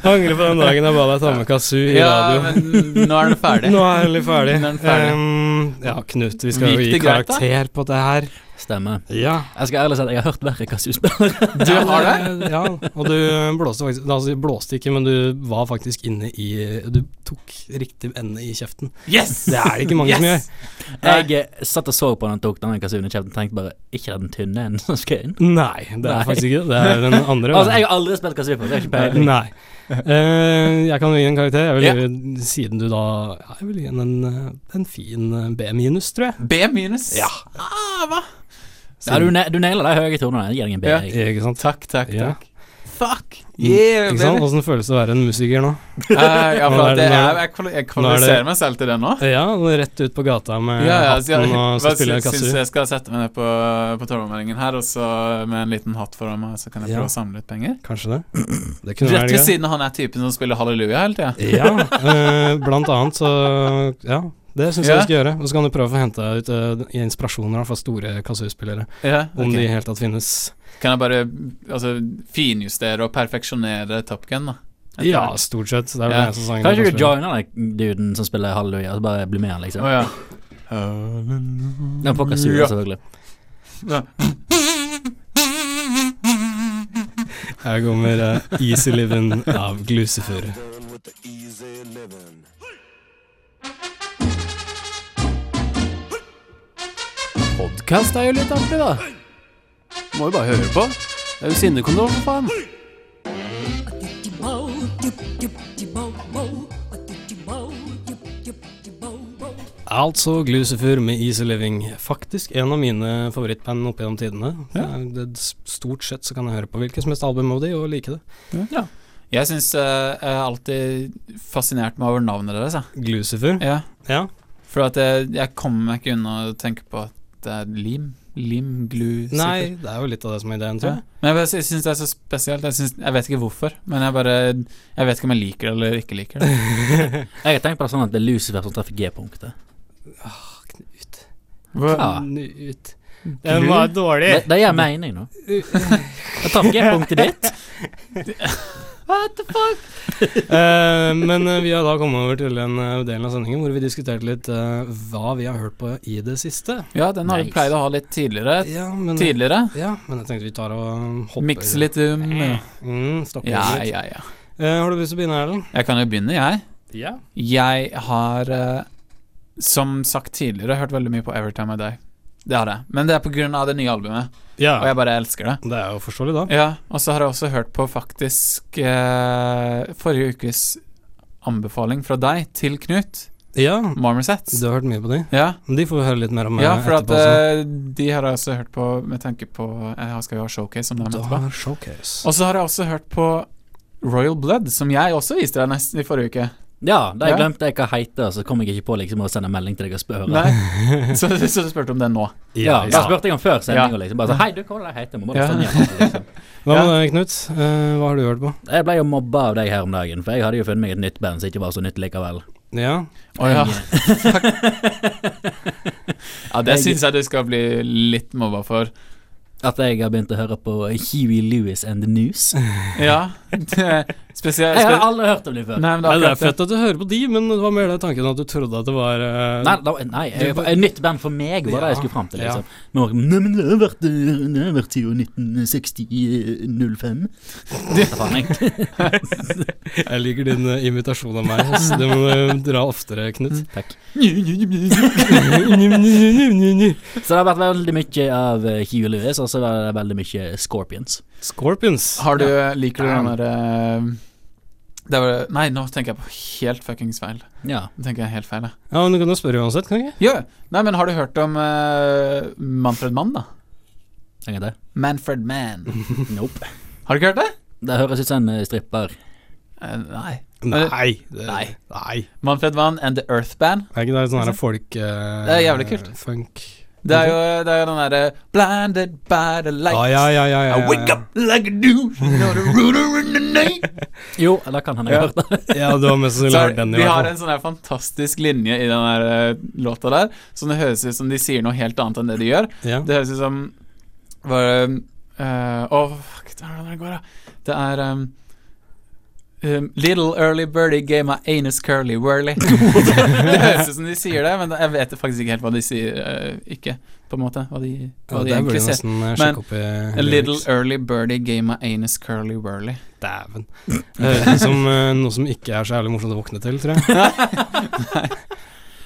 [SPEAKER 2] Angrer på den dagen jeg ba deg ta med kazoo i
[SPEAKER 4] Ja,
[SPEAKER 2] radio.
[SPEAKER 4] men nå er den ferdig.
[SPEAKER 2] Nå er den litt ferdig.
[SPEAKER 4] Nå er den ferdig.
[SPEAKER 2] Ehm, ja, Knut, vi skal
[SPEAKER 4] Gikk
[SPEAKER 2] jo gi
[SPEAKER 4] det greit, da?
[SPEAKER 2] karakter på det her.
[SPEAKER 3] Stemmer.
[SPEAKER 2] Ja.
[SPEAKER 3] Jeg skal ærlig si at jeg har hørt verre hva du spiller.
[SPEAKER 4] Du har det?
[SPEAKER 2] Ja, og du blåste faktisk Altså, du blåste ikke, men du var faktisk inne i Du tok riktig ende i kjeften.
[SPEAKER 4] Yes!
[SPEAKER 2] Det er det ikke mange som gjør.
[SPEAKER 3] Jeg eh, satt og så på den tok den kasuen i kjeften og tenkte bare Ikke den tynne en som skal inn.
[SPEAKER 2] Nei, det er
[SPEAKER 3] Nei.
[SPEAKER 2] faktisk ikke det. Det er den andre.
[SPEAKER 3] Altså, jeg har aldri spilt kasu før. Det er ikke peiling.
[SPEAKER 2] Nei. Eh, jeg kan jo gi en karakter. Jeg vil
[SPEAKER 4] Ja.
[SPEAKER 2] gi, Siden du da ja, Jeg vil gi den en, eh, en fin eh, B minus, tror jeg.
[SPEAKER 4] B minus.
[SPEAKER 2] Ja.
[SPEAKER 4] Ah, hva?
[SPEAKER 3] Ja, du, ne- du nailer de høye tonene. Jeg gir deg en B.
[SPEAKER 4] Ja.
[SPEAKER 3] jeg.
[SPEAKER 2] Ikke sant?
[SPEAKER 4] Takk, takk,
[SPEAKER 2] Ja. Mm.
[SPEAKER 4] takk. Fuck!
[SPEAKER 2] ikke sant? Åssen føles det å være en musiker nå?
[SPEAKER 4] Eh, ja, for
[SPEAKER 2] Nå er
[SPEAKER 4] at
[SPEAKER 2] det-
[SPEAKER 4] jeg,
[SPEAKER 2] nå er
[SPEAKER 4] jeg,
[SPEAKER 2] det-
[SPEAKER 4] jeg, kvali- jeg
[SPEAKER 2] nå er det-
[SPEAKER 4] kvalifiserer meg selv til det nå.
[SPEAKER 2] Ja, rett ut på gata
[SPEAKER 5] Eh,
[SPEAKER 2] med
[SPEAKER 4] Ja, altså, ja, så jeg,
[SPEAKER 2] hatten og
[SPEAKER 4] hva
[SPEAKER 2] skal spille
[SPEAKER 4] sy- syns
[SPEAKER 2] kassu.
[SPEAKER 4] jeg skal sette meg ned på, på tolvmeldingen her, og så med en liten hatt foran meg, så kan jeg
[SPEAKER 2] Ja.
[SPEAKER 4] prøve å samle litt penger?
[SPEAKER 2] Kanskje det? Det
[SPEAKER 4] Rett
[SPEAKER 2] kunne være
[SPEAKER 4] ved
[SPEAKER 2] greit.
[SPEAKER 4] siden av han er typen som spiller halleluja hele tida.
[SPEAKER 2] Ja, eh, blant annet så Ja, det syns
[SPEAKER 4] Ja.
[SPEAKER 2] jeg du skal gjøre. Og så kan du prøve å få hente ut eh, inspirasjoner da, fra store kassuspillere,
[SPEAKER 4] Ja,
[SPEAKER 2] om
[SPEAKER 4] ok.
[SPEAKER 2] de i det hele tatt finnes.
[SPEAKER 4] Kan jeg bare altså, finjustere og perfeksjonere Top Gun, da? Etter
[SPEAKER 2] Ja,
[SPEAKER 5] altså.
[SPEAKER 4] hvert.
[SPEAKER 2] stort sett. Det er vel
[SPEAKER 4] Ja.
[SPEAKER 2] den eneste
[SPEAKER 3] Kanskje
[SPEAKER 2] sangen jeg
[SPEAKER 3] du
[SPEAKER 2] kan spille.
[SPEAKER 3] joiner den duden som spiller halleluja, og så bare blir med, liksom.
[SPEAKER 4] Å ja.
[SPEAKER 3] Den på kasu,
[SPEAKER 4] Ja.
[SPEAKER 3] selvfølgelig.
[SPEAKER 2] Her kommer eh, Easy Livin' av Glucifer.
[SPEAKER 5] Podkast er jo litt artig, da. Må jo bare høre på. Det er jo sinnekondom, for faen.
[SPEAKER 2] Altså Glucifer med Easy Living. Faktisk en av mine favorittband opp gjennom tidene. Eh, Det, er stort sett så kan jeg høre på hvilket som helst album av de og like det.
[SPEAKER 4] Jeg syns jeg har alltid fascinert meg over navnet deres, jeg.
[SPEAKER 2] Glucifer.
[SPEAKER 4] Ja.
[SPEAKER 2] Ja.
[SPEAKER 4] For at jeg, jeg kommer meg ikke unna å tenke på at det er lim. Lim, glu, sikkert.
[SPEAKER 2] Nei, det er jo litt av det som er ideen,
[SPEAKER 4] Ja.
[SPEAKER 2] tror jeg.
[SPEAKER 4] Men jeg, bare- jeg syns det er så spesielt. Jeg, synes, jeg vet ikke hvorfor, men jeg bare Jeg vet ikke om jeg liker det eller ikke liker det.
[SPEAKER 3] Jeg har tenkt på det sånn at det er Lucifer som treffer G-punktet.
[SPEAKER 2] Knut.
[SPEAKER 3] Ja.
[SPEAKER 2] Knut.
[SPEAKER 4] Den var
[SPEAKER 2] dårlig.
[SPEAKER 3] Det, det gir mening nå. Jeg tar G-punktet ditt.
[SPEAKER 2] men eh, vi har da kommet over til den eh, delen av sendingen hvor vi diskuterte litt eh, hva vi har hørt på i det siste.
[SPEAKER 4] Ja, den har vi
[SPEAKER 3] Nice.
[SPEAKER 4] pleid å ha litt tidligere.
[SPEAKER 2] Ja, men, eh,
[SPEAKER 4] Tidligere.
[SPEAKER 2] ja, men jeg tenkte vi tar og hopper
[SPEAKER 4] Mikse litt um
[SPEAKER 2] Mm, stopper
[SPEAKER 4] Ja,
[SPEAKER 2] litt.
[SPEAKER 4] ja, ja.
[SPEAKER 2] Eh, har du lyst til å begynne, Erlend?
[SPEAKER 4] Jeg kan jo begynne, jeg.
[SPEAKER 2] Ja.
[SPEAKER 4] Jeg har, eh, som sagt tidligere, hørt veldig mye på Everytime I Die. Det har jeg. Men det er på grunn av det nye albumet, og jeg bare elsker det.
[SPEAKER 2] Det er jo forståelig, da.
[SPEAKER 4] Ja, og så har jeg også hørt på faktisk eh, forrige ukes anbefaling fra deg til Knut,
[SPEAKER 2] Ja,
[SPEAKER 4] Marmosets.
[SPEAKER 2] du har hørt mye på de.
[SPEAKER 4] Ja,
[SPEAKER 2] Men De får vi høre litt mer om eh,
[SPEAKER 4] ja, for at
[SPEAKER 2] etterpå. også.
[SPEAKER 4] eh, de har jeg også hørt på med tanke på Jeg skal jo ha showcase om dem etterpå.
[SPEAKER 2] da showcase.
[SPEAKER 4] eh, Og så har jeg også hørt på Royal Blood, som jeg også viste deg nesten i forrige uke.
[SPEAKER 3] Ja, da jeg
[SPEAKER 4] Ja.
[SPEAKER 3] glemte jeg hva jeg heter, så kom jeg ikke på liksom å sende melding til deg og spørre.
[SPEAKER 4] Nei, så, så du spurte om den nå.
[SPEAKER 3] Ja,
[SPEAKER 2] ikke
[SPEAKER 3] Da
[SPEAKER 2] sant.
[SPEAKER 3] spurte jeg om før
[SPEAKER 4] Ja.
[SPEAKER 3] sendinga, liksom. Bare så, Hei, du, hva var det jeg heter? Må bare
[SPEAKER 4] Ja.
[SPEAKER 3] sende igjen, liksom.
[SPEAKER 2] Hva med deg, Knut? Eh, hva har du hørt på?
[SPEAKER 3] Jeg ble jo mobba av deg her om dagen, for jeg hadde jo funnet meg et nytt band som ikke var så nytt likevel.
[SPEAKER 2] Ja.
[SPEAKER 4] Å ja. ja, det
[SPEAKER 3] Jeg-
[SPEAKER 4] syns jeg du skal bli litt mobba for.
[SPEAKER 3] At jeg har begynt å høre på Huey Lewis and the News.
[SPEAKER 4] Ja, Spesielt
[SPEAKER 3] Jeg har aldri hørt om dem før.
[SPEAKER 4] Nei, men det
[SPEAKER 2] Nei,
[SPEAKER 4] er
[SPEAKER 2] det er
[SPEAKER 4] akkurat det.
[SPEAKER 2] fett at du hører på de, men det var mer den tanken at du trodde at det var eh,
[SPEAKER 3] Nei, da, nei jeg,
[SPEAKER 2] Du-
[SPEAKER 3] et nytt band for meg var det jeg skulle fram til. liksom Nå, nei, men det har vært, eh, det har vært siden eh, 1960-05.
[SPEAKER 2] Jeg liker din eh, imitasjon av meg. ass. det må du eh, dra oftere, Knut.
[SPEAKER 3] Takk.
[SPEAKER 4] Mm.
[SPEAKER 2] Scorpions.
[SPEAKER 3] Så det har vært veldig mye av eh, Hugh Lewis, og så var det veldig mye Scorpions.
[SPEAKER 4] Har du Liker du den derre det var, nei, nå tenker jeg på helt fuckings feil.
[SPEAKER 3] Ja.
[SPEAKER 4] Nå tenker jeg helt feil jeg.
[SPEAKER 2] Ja, men Du kan jo spørre uansett, kan du ikke?
[SPEAKER 4] Jo, nei, men Har du hørt om eh, Manfred Mann, da?
[SPEAKER 3] En gang til.
[SPEAKER 4] Manfred Mann.
[SPEAKER 3] Nope.
[SPEAKER 4] Har du ikke hørt det?
[SPEAKER 3] Det høres ut som en eh, stripper.
[SPEAKER 4] Eh, nei.
[SPEAKER 2] Nei. Det,
[SPEAKER 4] Nei.
[SPEAKER 2] nei.
[SPEAKER 4] Manfred Mann and The Earth Band.
[SPEAKER 2] Er ikke det sånn her folk eh,
[SPEAKER 4] Det er jævlig kult.
[SPEAKER 2] Funk.
[SPEAKER 4] Det er jo, det er jo den derre Blinded by the light.
[SPEAKER 2] Mhm. Ah, ja, ja, ja, ja,
[SPEAKER 4] I wake
[SPEAKER 2] ja.
[SPEAKER 4] up like a douche, you know the ruler in the night.
[SPEAKER 3] Jo, eller kan han ha
[SPEAKER 4] Ja.
[SPEAKER 3] hørt det?
[SPEAKER 2] ja, du har mest
[SPEAKER 4] Så
[SPEAKER 2] sannsynlig
[SPEAKER 4] er,
[SPEAKER 2] hørt den, i
[SPEAKER 4] de har
[SPEAKER 2] hvert fall.
[SPEAKER 4] en sånn her fantastisk linje i den her eh, låta der, som det høres ut som de sier noe helt annet enn det de gjør.
[SPEAKER 2] Ja.
[SPEAKER 4] Det høres ut som bare eh, Åh, fuck, det er hvordan det går, da. Det er um, um, Little early birdie gave my anus curly whirly. det høres ut som de sier det, men jeg vet faktisk ikke helt hva de sier. eh, ikke, på en måte. Hva de,
[SPEAKER 2] Ja,
[SPEAKER 4] hva de
[SPEAKER 2] det burde
[SPEAKER 4] egentlig
[SPEAKER 2] du
[SPEAKER 4] sier.
[SPEAKER 2] nesten eh,
[SPEAKER 4] Men,
[SPEAKER 2] sjekke opp i
[SPEAKER 4] A little
[SPEAKER 2] lyrics.
[SPEAKER 4] early birdie gave my anus curly whirly.
[SPEAKER 2] Dæven. Det høres ut som eh, noe som ikke er så jævlig morsomt å våkne til, tror jeg.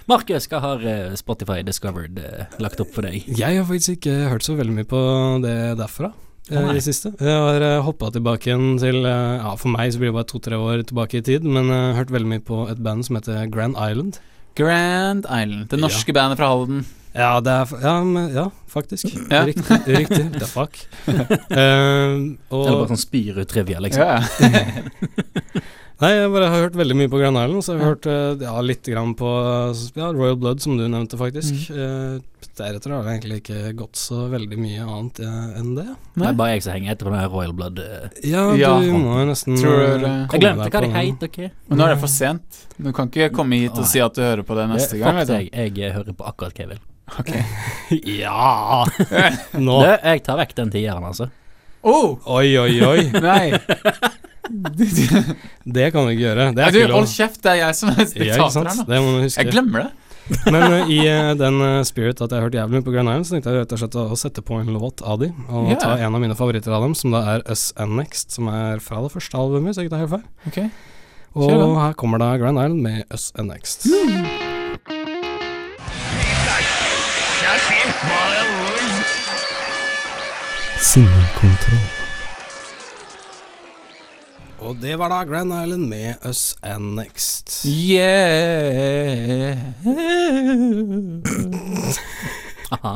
[SPEAKER 3] Markus, hva har eh, Spotify Discovered eh, lagt opp for deg?
[SPEAKER 2] Jeg har faktisk ikke hørt så veldig mye på det derfra. eh,
[SPEAKER 3] Å, nei.
[SPEAKER 2] I det siste. Jeg har uh, hoppa tilbake igjen til eh, Ja, for meg så blir det bare to-tre år tilbake i tid, men jeg har hørt veldig mye på et band som heter Grand Island.
[SPEAKER 4] Grand Island. Det norske bandet fra Halden.
[SPEAKER 2] Ja, det er, f- ja, men, ja faktisk.
[SPEAKER 4] Ja.
[SPEAKER 2] Riktig. riktig. The fuck. Eh,
[SPEAKER 3] Eller
[SPEAKER 2] og
[SPEAKER 3] bare sånn spyr ut trivia, liksom?
[SPEAKER 4] Ja, ja.
[SPEAKER 2] Nei, jeg bare har hørt veldig mye på Grand Island. Så jeg har hørt eh, ja, litt grann på ja, Royal Blood, som du nevnte, faktisk. Eh, deretter har det egentlig ikke gått så veldig mye annet eh, enn det.
[SPEAKER 3] Det
[SPEAKER 4] Nei.
[SPEAKER 3] er bare jeg som henger etter på den her Royal Blood. eh.
[SPEAKER 2] Ja,
[SPEAKER 4] Ja.
[SPEAKER 2] du må jo nesten
[SPEAKER 4] Tror du
[SPEAKER 2] eh,
[SPEAKER 4] det-
[SPEAKER 2] komme
[SPEAKER 3] Jeg glemte
[SPEAKER 2] deg
[SPEAKER 3] hva
[SPEAKER 2] på
[SPEAKER 3] de
[SPEAKER 2] den.
[SPEAKER 3] het, ok?
[SPEAKER 4] Men nå er det for sent. Du kan ikke komme hit og
[SPEAKER 3] Nei.
[SPEAKER 4] si at du hører på det neste gang.
[SPEAKER 3] Fuck
[SPEAKER 4] vet du.
[SPEAKER 3] deg, jeg, eh, hører på akkurat hva jeg vil.
[SPEAKER 2] Ja!
[SPEAKER 3] Ah.
[SPEAKER 2] Nå.
[SPEAKER 3] Du, jeg tar vekk den tieren, altså.
[SPEAKER 4] Oh,
[SPEAKER 2] Oi, oi, oi.
[SPEAKER 4] nei.
[SPEAKER 2] Det kan vi ikke gjøre. Det
[SPEAKER 4] Ja,
[SPEAKER 2] er
[SPEAKER 4] du,
[SPEAKER 2] ikke
[SPEAKER 4] hold
[SPEAKER 2] lov.
[SPEAKER 4] kjeft, det er jeg som er
[SPEAKER 2] Ja, ikke
[SPEAKER 4] diktator
[SPEAKER 2] sant?
[SPEAKER 4] her nå.
[SPEAKER 2] Det må du huske.
[SPEAKER 4] Jeg glemmer det.
[SPEAKER 2] Men eh, i eh, den eh, spirit at jeg har hørt jævlig mye på Grand Island, så tenkte jeg rett og slett å å sette på en låt av de, og
[SPEAKER 4] Ja.
[SPEAKER 2] ta en av mine favoritter av dem, som da er Us and Next, som er fra det første albumet, hvis jeg ikke tar helt feil.
[SPEAKER 4] Ok.
[SPEAKER 2] Og
[SPEAKER 4] Kjør den.
[SPEAKER 2] her kommer da Grand Island med Us and Next. Sinnekontroll. Og det var da Grand Island med Us and Next.
[SPEAKER 4] Yeah.
[SPEAKER 3] Aha.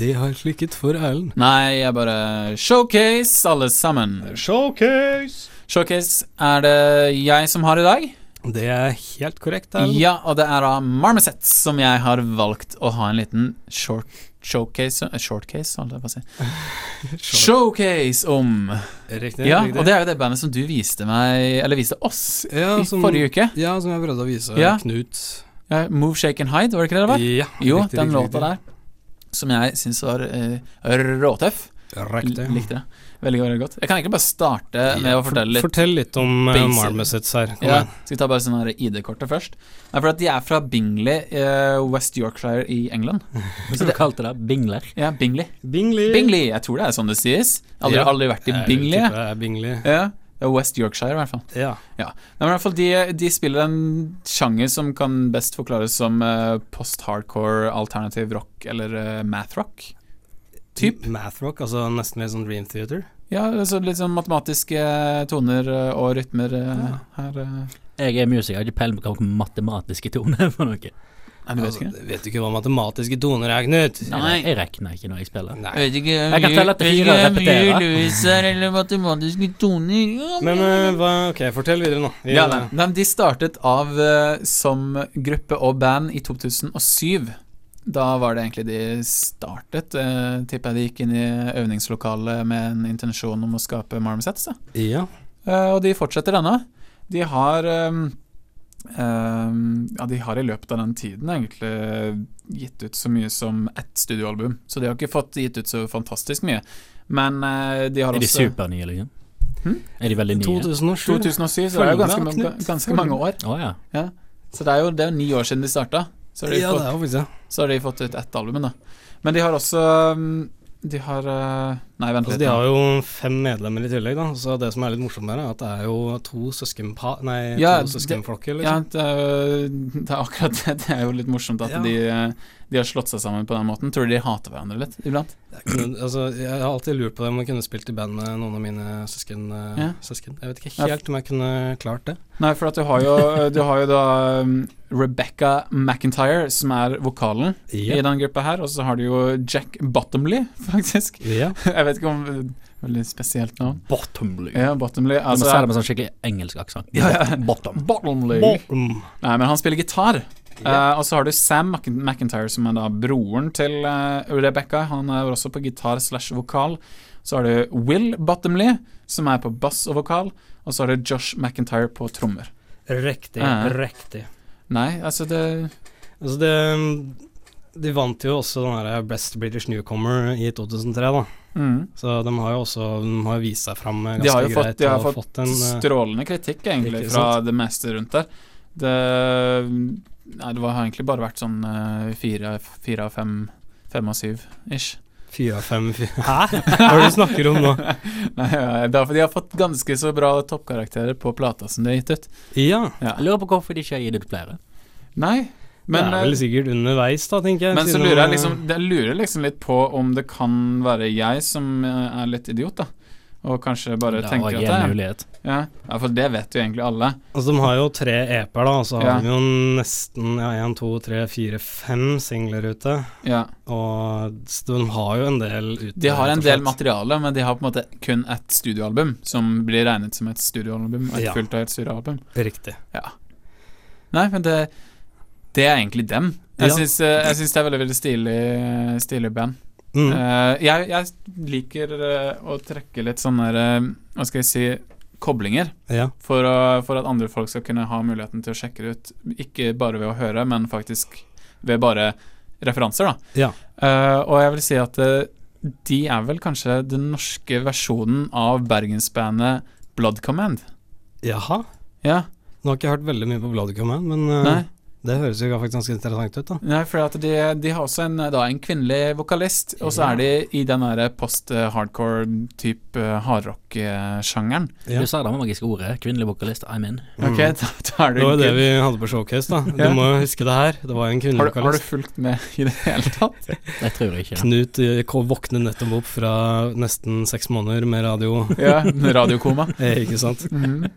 [SPEAKER 2] Det har klikket for Erlend.
[SPEAKER 4] Nei, jeg bare Showcase, alle sammen.
[SPEAKER 2] Showcase!
[SPEAKER 4] Showcase er det jeg som har i dag.
[SPEAKER 2] Det er helt korrekt, Erlend.
[SPEAKER 4] Ja, og det er da Marmoset som jeg har valgt å ha en liten short showcase eh, Shortcase, holdt jeg på å si. Showcase om.
[SPEAKER 2] Riktig.
[SPEAKER 4] Ja,
[SPEAKER 2] riktig.
[SPEAKER 4] og det er jo det bandet som du viste meg, eller viste oss,
[SPEAKER 2] ja,
[SPEAKER 4] i
[SPEAKER 2] som,
[SPEAKER 4] forrige uke.
[SPEAKER 2] Ja, som jeg prøvde å vise
[SPEAKER 4] Ja.
[SPEAKER 2] Knut.
[SPEAKER 4] Ja, Move, Shake and Hide, var det ikke det det var?
[SPEAKER 2] Ja,
[SPEAKER 4] Jo,
[SPEAKER 2] riktig,
[SPEAKER 4] den
[SPEAKER 2] riktig,
[SPEAKER 4] låta der, som jeg syns var eh, råtøff.
[SPEAKER 2] Riktig.
[SPEAKER 4] L- Likte det. Veldig veldig godt. Jeg kan egentlig bare starte med å
[SPEAKER 2] Ja,
[SPEAKER 4] Eh, fortelle litt.
[SPEAKER 2] Fortell litt om uh,
[SPEAKER 4] basic.
[SPEAKER 2] Marmosets her. Kom
[SPEAKER 4] Ja,
[SPEAKER 2] igjen.
[SPEAKER 4] skal vi ta bare sånn her ID-kortet først? Nei, for at De er fra Bingley, eh, West Yorkshire i England.
[SPEAKER 3] Hvis du kalte det bingler.
[SPEAKER 4] Ja, Bingley.
[SPEAKER 2] Bingley.
[SPEAKER 4] Bingley, Jeg tror det er sånn det sies. Aldri,
[SPEAKER 2] Ja.
[SPEAKER 4] aldri vært i
[SPEAKER 2] Jeg
[SPEAKER 4] Bingley.
[SPEAKER 2] tipper det er Bingley.
[SPEAKER 4] Ja, det er West Yorkshire, i hvert fall.
[SPEAKER 2] Ja.
[SPEAKER 4] Nei, men i hvert fall de, de spiller en sjanger som kan best forklares som eh, post-hardcore alternativ rock eller eh, math rock. Typ.
[SPEAKER 2] Mathrock, altså nesten litt sånn Dream Theater.
[SPEAKER 4] Ja, altså litt sånn matematiske toner eh, og rytmer eh, her. eh.
[SPEAKER 3] Jeg er musiker, jeg har ikke peiling på hva matematiske toner er for noe.
[SPEAKER 4] Nei, du vet
[SPEAKER 2] Altså,
[SPEAKER 4] ikke.
[SPEAKER 2] vet du ikke hva matematiske toner er, Knut?
[SPEAKER 4] Nei.
[SPEAKER 3] Jeg regner ikke når jeg spiller.
[SPEAKER 2] Nei.
[SPEAKER 4] Jeg vet ikke
[SPEAKER 3] Jeg kan telle til fire og repetere.
[SPEAKER 4] eller matematiske toner Ja,
[SPEAKER 2] Men eh, hva Ok, fortell videre nå. Vi-
[SPEAKER 4] ja, nei. Nei, men De startet av eh, som gruppe og band i 2007. Da var det egentlig de startet. Uh, Tipper jeg de gikk inn i øvningslokalet med en intensjon om å skape Marmosets. da.
[SPEAKER 2] Ja.
[SPEAKER 4] Eh, og de fortsetter ennå. De har ehm, ehm, Ja, de har i løpet av den tiden egentlig gitt ut så mye som ett studioalbum. Så de har ikke fått gitt ut så fantastisk mye. Men eh, de har
[SPEAKER 3] Er de
[SPEAKER 4] også
[SPEAKER 3] supernye, liksom? Er de veldig nye?
[SPEAKER 2] 2007.
[SPEAKER 4] 2007, så det er jo
[SPEAKER 2] Følg med,
[SPEAKER 4] ganske, mange-
[SPEAKER 2] Knut.
[SPEAKER 4] ganske
[SPEAKER 2] Følg
[SPEAKER 4] mange år.
[SPEAKER 3] Å ja.
[SPEAKER 4] Så det er jo, det er jo ni år siden de starta. Så har de,
[SPEAKER 2] Ja, det
[SPEAKER 4] fått,
[SPEAKER 2] er jo faktisk det.
[SPEAKER 4] så har de fått ut ett album, da. Men de har også um, De har uh, Nei, vent
[SPEAKER 2] Altså,
[SPEAKER 4] litt.
[SPEAKER 2] de
[SPEAKER 4] nå.
[SPEAKER 2] har jo fem medlemmer i tillegg, da. Så det som er litt morsomt med det, er at det er jo to søskenpa... Nei,
[SPEAKER 4] Ja,
[SPEAKER 2] to søskenflokker,
[SPEAKER 4] Ja,
[SPEAKER 2] liksom.
[SPEAKER 4] det er, jo, det er akkurat det. Det er jo litt morsomt at
[SPEAKER 2] Ja.
[SPEAKER 4] de, eh, de har slått seg sammen på den måten. Tror du de hater hverandre litt iblant?
[SPEAKER 2] Det er ikke noe- altså, jeg har alltid lurt på det om jeg kunne spilt i band med noen av mine søsken. eh,
[SPEAKER 4] Ja.
[SPEAKER 2] søsken. Jeg vet
[SPEAKER 4] Ja.
[SPEAKER 2] ikke helt om jeg kunne klart det.
[SPEAKER 4] Nei, for at du har jo, du har jo da um, Rebecca McIntyre, som er vokalen i den gruppa her, og så har du jo Jack Bottomley, faktisk.
[SPEAKER 2] Ja.
[SPEAKER 4] Jeg vet ikke om Veldig spesielt navn.
[SPEAKER 3] Bottom blue.
[SPEAKER 4] Ja, Bottomley.
[SPEAKER 3] Altså,
[SPEAKER 4] Altså,
[SPEAKER 3] si det med sånn skikkelig engelsk aksent. Bottom.
[SPEAKER 4] Bottomley.
[SPEAKER 2] Bom.
[SPEAKER 4] Nei, men han spiller gitar. Eh, og så har du Sam Mc McIntyre, som er da broren til eh, Rebecca. Han er også på gitar slash vokal. Så har du Will Bottomley, som er på bass og vokal. Og så har du Josh McIntyre på trommer.
[SPEAKER 2] Riktig.
[SPEAKER 4] Ja.
[SPEAKER 2] Riktig.
[SPEAKER 4] Nei, altså det
[SPEAKER 2] Altså, det De vant jo også den derre Best British Newcomer i 2003, da.
[SPEAKER 4] mm.
[SPEAKER 2] Så de har jo også de har jo vist seg fram eh,
[SPEAKER 4] De har
[SPEAKER 2] ganske
[SPEAKER 4] jo fått-
[SPEAKER 2] greit.
[SPEAKER 4] de har
[SPEAKER 2] og
[SPEAKER 4] fått
[SPEAKER 2] en, eh,
[SPEAKER 4] Strålende kritikk, egentlig,
[SPEAKER 2] ikke
[SPEAKER 4] fra det meste rundt der. Det Nei, det var, har egentlig bare vært sånn eh, fire fire av fem Fem av syv, ish.
[SPEAKER 2] Fire av fem fy- Hæ? Hva er det du snakker om nå?
[SPEAKER 4] Nei, ja, det er fordi de har fått ganske så bra toppkarakterer på plata som de har gitt ut.
[SPEAKER 2] Ja.
[SPEAKER 3] Jeg lurer på hvorfor de ikke har gitt ut flere.
[SPEAKER 4] Nei, men eh,
[SPEAKER 2] det er vel sikkert underveis, da, tenker jeg.
[SPEAKER 4] Men så
[SPEAKER 2] siden
[SPEAKER 4] lurer jeg
[SPEAKER 2] det-
[SPEAKER 4] liksom, jeg lurer liksom litt på om det kan være jeg som eh, er litt idiot, da. Og kanskje bare
[SPEAKER 3] Det var
[SPEAKER 4] tenker at
[SPEAKER 3] ikke en
[SPEAKER 4] det er
[SPEAKER 3] mulighet.
[SPEAKER 4] ja. ja, for det vet jo egentlig alle.
[SPEAKER 2] Altså, de har jo tre EP-er, da, og så har
[SPEAKER 4] Ja.
[SPEAKER 2] de jo nesten ja, én, to, tre, fire, fem singler ute.
[SPEAKER 4] Ja.
[SPEAKER 2] Og s- de har jo en del ute.
[SPEAKER 4] De har
[SPEAKER 2] rett
[SPEAKER 4] en
[SPEAKER 2] og
[SPEAKER 4] del
[SPEAKER 2] slett.
[SPEAKER 4] materiale, men de har på en måte kun ett studioalbum som blir regnet som et studioalbum. Og et
[SPEAKER 2] Ja.
[SPEAKER 4] fullt og helt studioalbum.
[SPEAKER 2] Riktig.
[SPEAKER 4] Nei, men det Det er egentlig dem. Jeg
[SPEAKER 2] Ja.
[SPEAKER 4] syns, eh, jeg syns det er veldig veldig stilig, stilig band.
[SPEAKER 2] Mm.
[SPEAKER 4] Eh, jeg, jeg liker eh, å trekke litt sånne der, eh, Hva skal jeg si Koblinger.
[SPEAKER 2] ja.
[SPEAKER 4] For, å, for at andre folk skal kunne ha muligheten til å sjekke det ut. Ikke bare ved å høre, men faktisk ved bare referanser, da.
[SPEAKER 2] Ja.
[SPEAKER 4] Eh, og jeg vil si at eh, de er vel kanskje den norske versjonen av bergensbandet Blood Command.
[SPEAKER 2] Jaha.
[SPEAKER 4] Ja,
[SPEAKER 2] Nå har ikke jeg hørt veldig mye på Bloody Command, men eh,
[SPEAKER 4] nei,
[SPEAKER 2] det høres jo faktisk ganske interessant ut, da.
[SPEAKER 4] nei for at de, de har også en, eh, da, en kvinnelig vokalist, og så
[SPEAKER 2] Ja.
[SPEAKER 4] er de i den derre post-hardcore-type eh, hardrock-sjangeren.
[SPEAKER 2] Ja.
[SPEAKER 3] Du sa det med magiske ordet. Kvinnelig vokalist, I'm in.
[SPEAKER 2] Mm.
[SPEAKER 4] Ok, da, da er det,
[SPEAKER 2] Det var jo det
[SPEAKER 4] good.
[SPEAKER 2] vi hadde på showcase, da. Du
[SPEAKER 4] Ja.
[SPEAKER 2] må jo huske det her. Det var jo en
[SPEAKER 4] har, du, har du
[SPEAKER 2] kvinnelokalist.
[SPEAKER 4] fulgt med i det hele tatt?
[SPEAKER 3] Jeg tror ikke det.
[SPEAKER 2] Knut eh, ko- våkner nettopp opp fra nesten seks måneder med radio.
[SPEAKER 4] Ja, radiokoma.
[SPEAKER 2] Eh, ikke sant?
[SPEAKER 4] Mhm.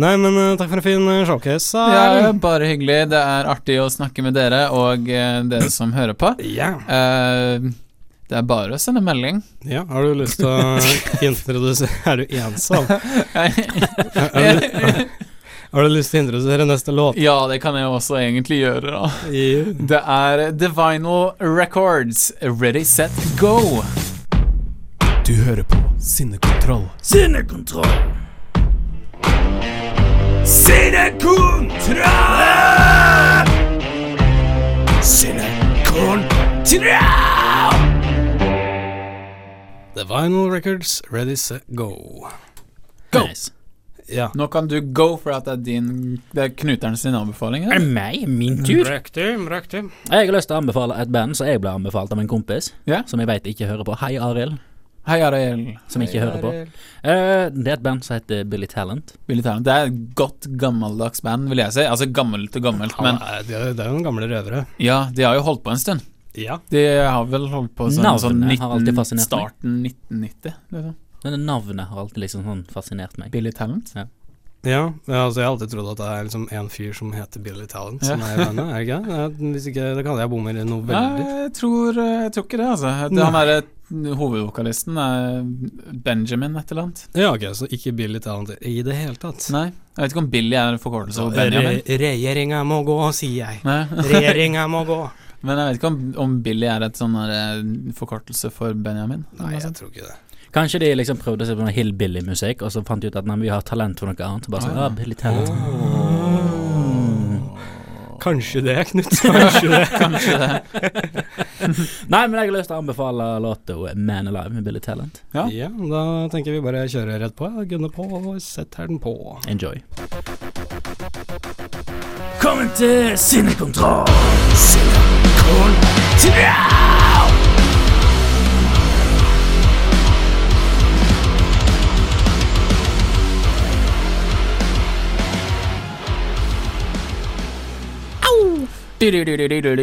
[SPEAKER 2] Nei, men eh, takk for en fin eh, showcase.
[SPEAKER 4] Ja,
[SPEAKER 2] Erlend.
[SPEAKER 4] bare hyggelig. Det er artig å snakke med dere og eh, dere som hører på.
[SPEAKER 2] Ja.
[SPEAKER 4] Eh, det er bare å sende melding.
[SPEAKER 2] ja. Har du lyst til å introdusere Er du ensom? Har du, har du lyst til å introdusere neste låt?
[SPEAKER 4] ja, det kan jeg jo også egentlig gjøre, da.
[SPEAKER 2] Ja.
[SPEAKER 4] Det er The Vinyl Records, Ready Set Go.
[SPEAKER 5] Du hører på Sinnekontroll.
[SPEAKER 3] Sinnekontroll!
[SPEAKER 5] Sinnekontroll! Sinnekontroll!
[SPEAKER 2] The Vinyl Records, Ready, Set, Go.
[SPEAKER 3] Go! Nice.
[SPEAKER 2] Ja.
[SPEAKER 4] Nå kan du go for at det er din Det er Knuteren sin anbefaling.
[SPEAKER 3] Er
[SPEAKER 4] eller?
[SPEAKER 3] det meg? Min tur?
[SPEAKER 4] Mm.
[SPEAKER 2] Riktig, riktig.
[SPEAKER 3] Jeg har lyst til å anbefale et band som jeg ble anbefalt av en kompis,
[SPEAKER 4] Ja.
[SPEAKER 3] som jeg veit ikke hører på. Hei, Arild,
[SPEAKER 4] Hei, Ariel.
[SPEAKER 3] som ikke hører på. Eh, det er et band som heter Billy Talent.
[SPEAKER 4] Billy Talent. Det er et godt gammeldags band, vil jeg si. Altså gammelt og gammelt, men
[SPEAKER 2] Men eh, det er det er jo noen gamle røvere.
[SPEAKER 4] ja, de har jo holdt på en stund.
[SPEAKER 2] Ja.
[SPEAKER 4] De har vel holdt på sånn,
[SPEAKER 3] Navnet
[SPEAKER 4] sånn
[SPEAKER 3] har
[SPEAKER 4] 19,
[SPEAKER 3] alltid fascinert meg.
[SPEAKER 4] starten 1990. Liksom.
[SPEAKER 3] Men det navnet har alltid liksom sånn fascinert meg.
[SPEAKER 4] Billy Talent.
[SPEAKER 2] Ja, ja, altså Jeg har alltid trodd at det er liksom en fyr som heter Billy Talent, som
[SPEAKER 4] Ja.
[SPEAKER 2] er i bandet. er det ikke det? Ja, Hvis ikke, da kan jeg bomme i
[SPEAKER 4] Nei,
[SPEAKER 2] noe veldig.
[SPEAKER 4] jeg tror, jeg tror ikke det, altså. Det, han derre hovedvokalisten er Benjamin et eller annet.
[SPEAKER 2] Ja, ok, så ikke Billy Talent i det hele tatt.
[SPEAKER 4] Nei, jeg vet ikke om Billy er en forkortelse for Benjamin.
[SPEAKER 2] Regjeringa må gå, sier jeg.
[SPEAKER 4] Nei,
[SPEAKER 2] Regjeringa må gå.
[SPEAKER 4] men jeg vet ikke om, om Billy er et sånn der, eh, forkortelse for Benjamin. Eller
[SPEAKER 2] Nei,
[SPEAKER 4] noe
[SPEAKER 2] jeg
[SPEAKER 4] sånt.
[SPEAKER 2] tror ikke det.
[SPEAKER 3] Kanskje de liksom prøvde seg på noe hillbilly-musikk, og så fant de «Ah, ut at nei, men vi har talent for noe annet. Og bare sånn,
[SPEAKER 4] Ah, ja.
[SPEAKER 3] ah, Billy Talent.
[SPEAKER 2] Kanskje det, Knut. Kanskje det.
[SPEAKER 4] Kanskje det.
[SPEAKER 3] Nei, men jeg har lyst til å anbefale låta 'Man Alive' med Billy Talent.
[SPEAKER 4] Ja.
[SPEAKER 2] Ja, da tenker vi bare kjøre rett på. ja. Gunne på og setter den på.
[SPEAKER 3] Enjoy. Velkommen til Sinnekontroll!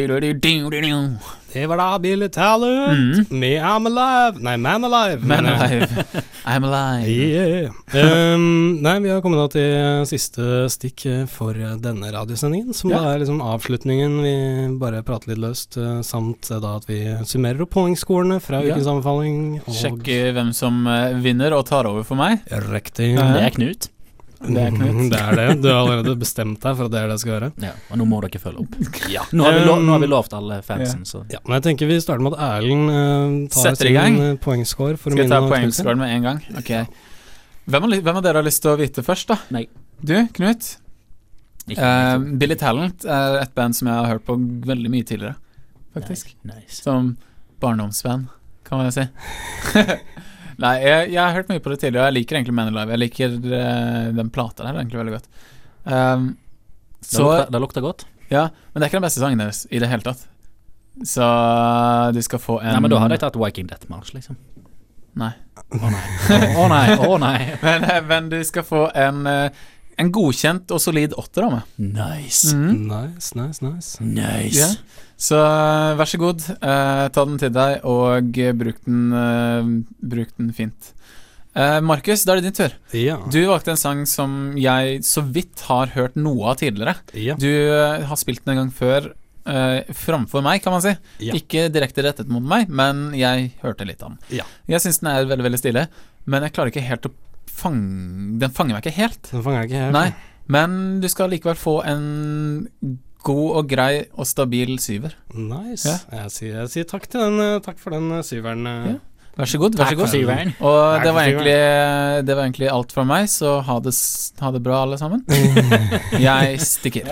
[SPEAKER 4] Man
[SPEAKER 2] Det var da Billy Talent med I'm Alive. Nei, Man Alive. mener jeg.
[SPEAKER 4] alive. I'm alive.
[SPEAKER 2] Yeah. Ehm, nei, vi har kommet da til siste stikk eh, for denne radiosendingen, som da er liksom avslutningen. Vi bare prater litt løst, eh, samt eh, da at vi summerer opp poengskolene fra
[SPEAKER 4] Ja.
[SPEAKER 2] ukens anbefaling. Og
[SPEAKER 4] Sjekke hvem som eh, vinner og tar over for meg.
[SPEAKER 2] Riktig.
[SPEAKER 3] Det er Knut.
[SPEAKER 4] Det er Knut.
[SPEAKER 2] Mhm, det er det. Du har allerede bestemt deg for at det er det det skal være.
[SPEAKER 3] Ja, og nå må dere følge opp. Ja. Nå har vi, lo
[SPEAKER 2] Um,
[SPEAKER 3] nå har vi lovt alle fansen, så
[SPEAKER 2] Ja, men jeg tenker vi starter med at Erlend eh, tar
[SPEAKER 4] Setter i gang.
[SPEAKER 2] sin eh, poengscore. For å
[SPEAKER 4] Skal jeg ta
[SPEAKER 2] minne Knut sin.
[SPEAKER 4] poengscoren med en gang? Ok hvem, har, ly- hvem av dere har lyst til å vite først, da?
[SPEAKER 3] Meg.
[SPEAKER 4] Du, Knut?
[SPEAKER 3] ikke
[SPEAKER 4] Eh, Billy Talent er et band som jeg har hørt på veldig mye tidligere, faktisk.
[SPEAKER 3] Nice.
[SPEAKER 4] Som barndomsband, kan man jo si. Nei, jeg, jeg har hørt mye på det tidligere, og jeg liker egentlig Man Alive. Jeg liker eh, den plata der egentlig veldig godt. Um,
[SPEAKER 3] Det,
[SPEAKER 4] så,
[SPEAKER 3] lukter, det lukter godt.
[SPEAKER 4] ja, men det er ikke den beste sangen deres i det hele tatt. Så du skal få en
[SPEAKER 3] Nei, men da hadde jeg tatt Viking Death March, liksom.
[SPEAKER 4] Nei.
[SPEAKER 3] Å nei. Å nei. Å nei.
[SPEAKER 4] men, eh, men du skal få en, eh, en godkjent og solid åtter av meg.
[SPEAKER 3] Nice.
[SPEAKER 2] Mm.
[SPEAKER 4] Mm.
[SPEAKER 2] Nice, nice, nice.
[SPEAKER 3] Mm. Nice.
[SPEAKER 4] Ja. Så eh, vær så god, eh, ta den til deg, og eh, bruk den, eh, bruk den fint. Eh, Markus, da er det din tur.
[SPEAKER 2] Ja.
[SPEAKER 4] Du valgte en sang som jeg så vidt har hørt noe av tidligere.
[SPEAKER 2] ja.
[SPEAKER 4] Du eh, har spilt den en gang før eh, framfor meg, kan man si.
[SPEAKER 2] Ja.
[SPEAKER 4] Ikke direkte rettet mot meg, men jeg hørte litt av den.
[SPEAKER 2] Ja.
[SPEAKER 4] Jeg syns den er veldig, veldig stilig, men jeg klarer ikke helt å fange Den fanger meg ikke helt.
[SPEAKER 2] Den fanger jeg ikke helt.
[SPEAKER 4] Nei, men du skal likevel få en god og grei og stabil syver.
[SPEAKER 2] Nice. Jeg, sier, jeg sier takk til den. eh, Takk for den eh, syveren. eh.
[SPEAKER 4] Ja. Vær så god. Vær så
[SPEAKER 3] Takk for
[SPEAKER 4] god.
[SPEAKER 3] syveren.
[SPEAKER 4] Og det
[SPEAKER 2] Takk
[SPEAKER 4] var,
[SPEAKER 2] for
[SPEAKER 4] egentlig, det var egentlig alt fra meg, så ha det, s- ha det bra, alle sammen. Jeg stikker.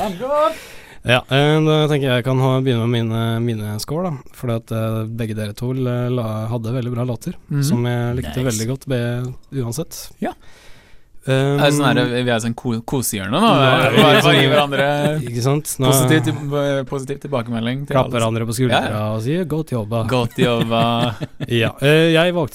[SPEAKER 2] Ja, eh, da tenker jeg jeg kan ha, begynne med mine, mine score, da. Fordi at eh, begge dere to eh, la, hadde veldig bra låter,
[SPEAKER 4] Mhm.
[SPEAKER 2] som jeg likte
[SPEAKER 3] Nice.
[SPEAKER 2] veldig godt be, uansett.
[SPEAKER 4] Ja.
[SPEAKER 2] Um,
[SPEAKER 4] Er det sånn her, vi er sånn ko- kosehjørne nå.
[SPEAKER 2] Nei,
[SPEAKER 4] Vi Bare, bare
[SPEAKER 2] sånn-
[SPEAKER 4] gi hverandre
[SPEAKER 2] Ikke sant? Nå
[SPEAKER 4] positiv, til- positiv tilbakemelding. Til
[SPEAKER 2] klapper
[SPEAKER 4] alle.
[SPEAKER 2] hverandre på skuldra
[SPEAKER 4] Ja,
[SPEAKER 2] og sier 'godt jobba'.
[SPEAKER 4] Godt jobba.
[SPEAKER 2] Ja, eh, jeg valgte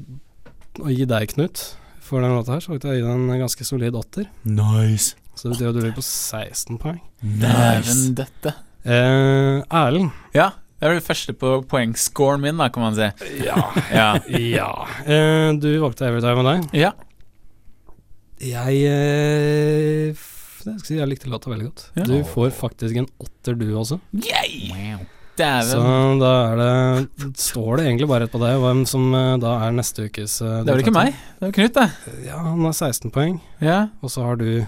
[SPEAKER 2] eh, å gi deg, Knut, for den låta her. Så valgte jeg å gi deg en ganske solid åtter.
[SPEAKER 3] Nice.
[SPEAKER 2] Så det betyr at du ligger på 16 poeng.
[SPEAKER 3] Nice.
[SPEAKER 4] Dæven døtte.
[SPEAKER 2] Eh, Erlend.
[SPEAKER 4] Ja, det er det første på poengscoren min, da, kan man si.
[SPEAKER 2] Ja.
[SPEAKER 4] Ja.
[SPEAKER 2] ja. Eh, du valgte 'Everytime' med deg.
[SPEAKER 4] ja.
[SPEAKER 2] Jeg eh, f- jeg skal si jeg likte låta veldig godt.
[SPEAKER 4] Ja.
[SPEAKER 2] Du får faktisk en åtter, du også.
[SPEAKER 3] Wow.
[SPEAKER 2] Så
[SPEAKER 4] Dæven.
[SPEAKER 2] da er det Står det egentlig bare rett på deg hvem som eh, da er neste ukes eh,
[SPEAKER 4] Det er vel ikke meg? Det er Knut, det.
[SPEAKER 2] deltaker. Ja, han har 16 poeng,
[SPEAKER 4] Ja.
[SPEAKER 2] og så har du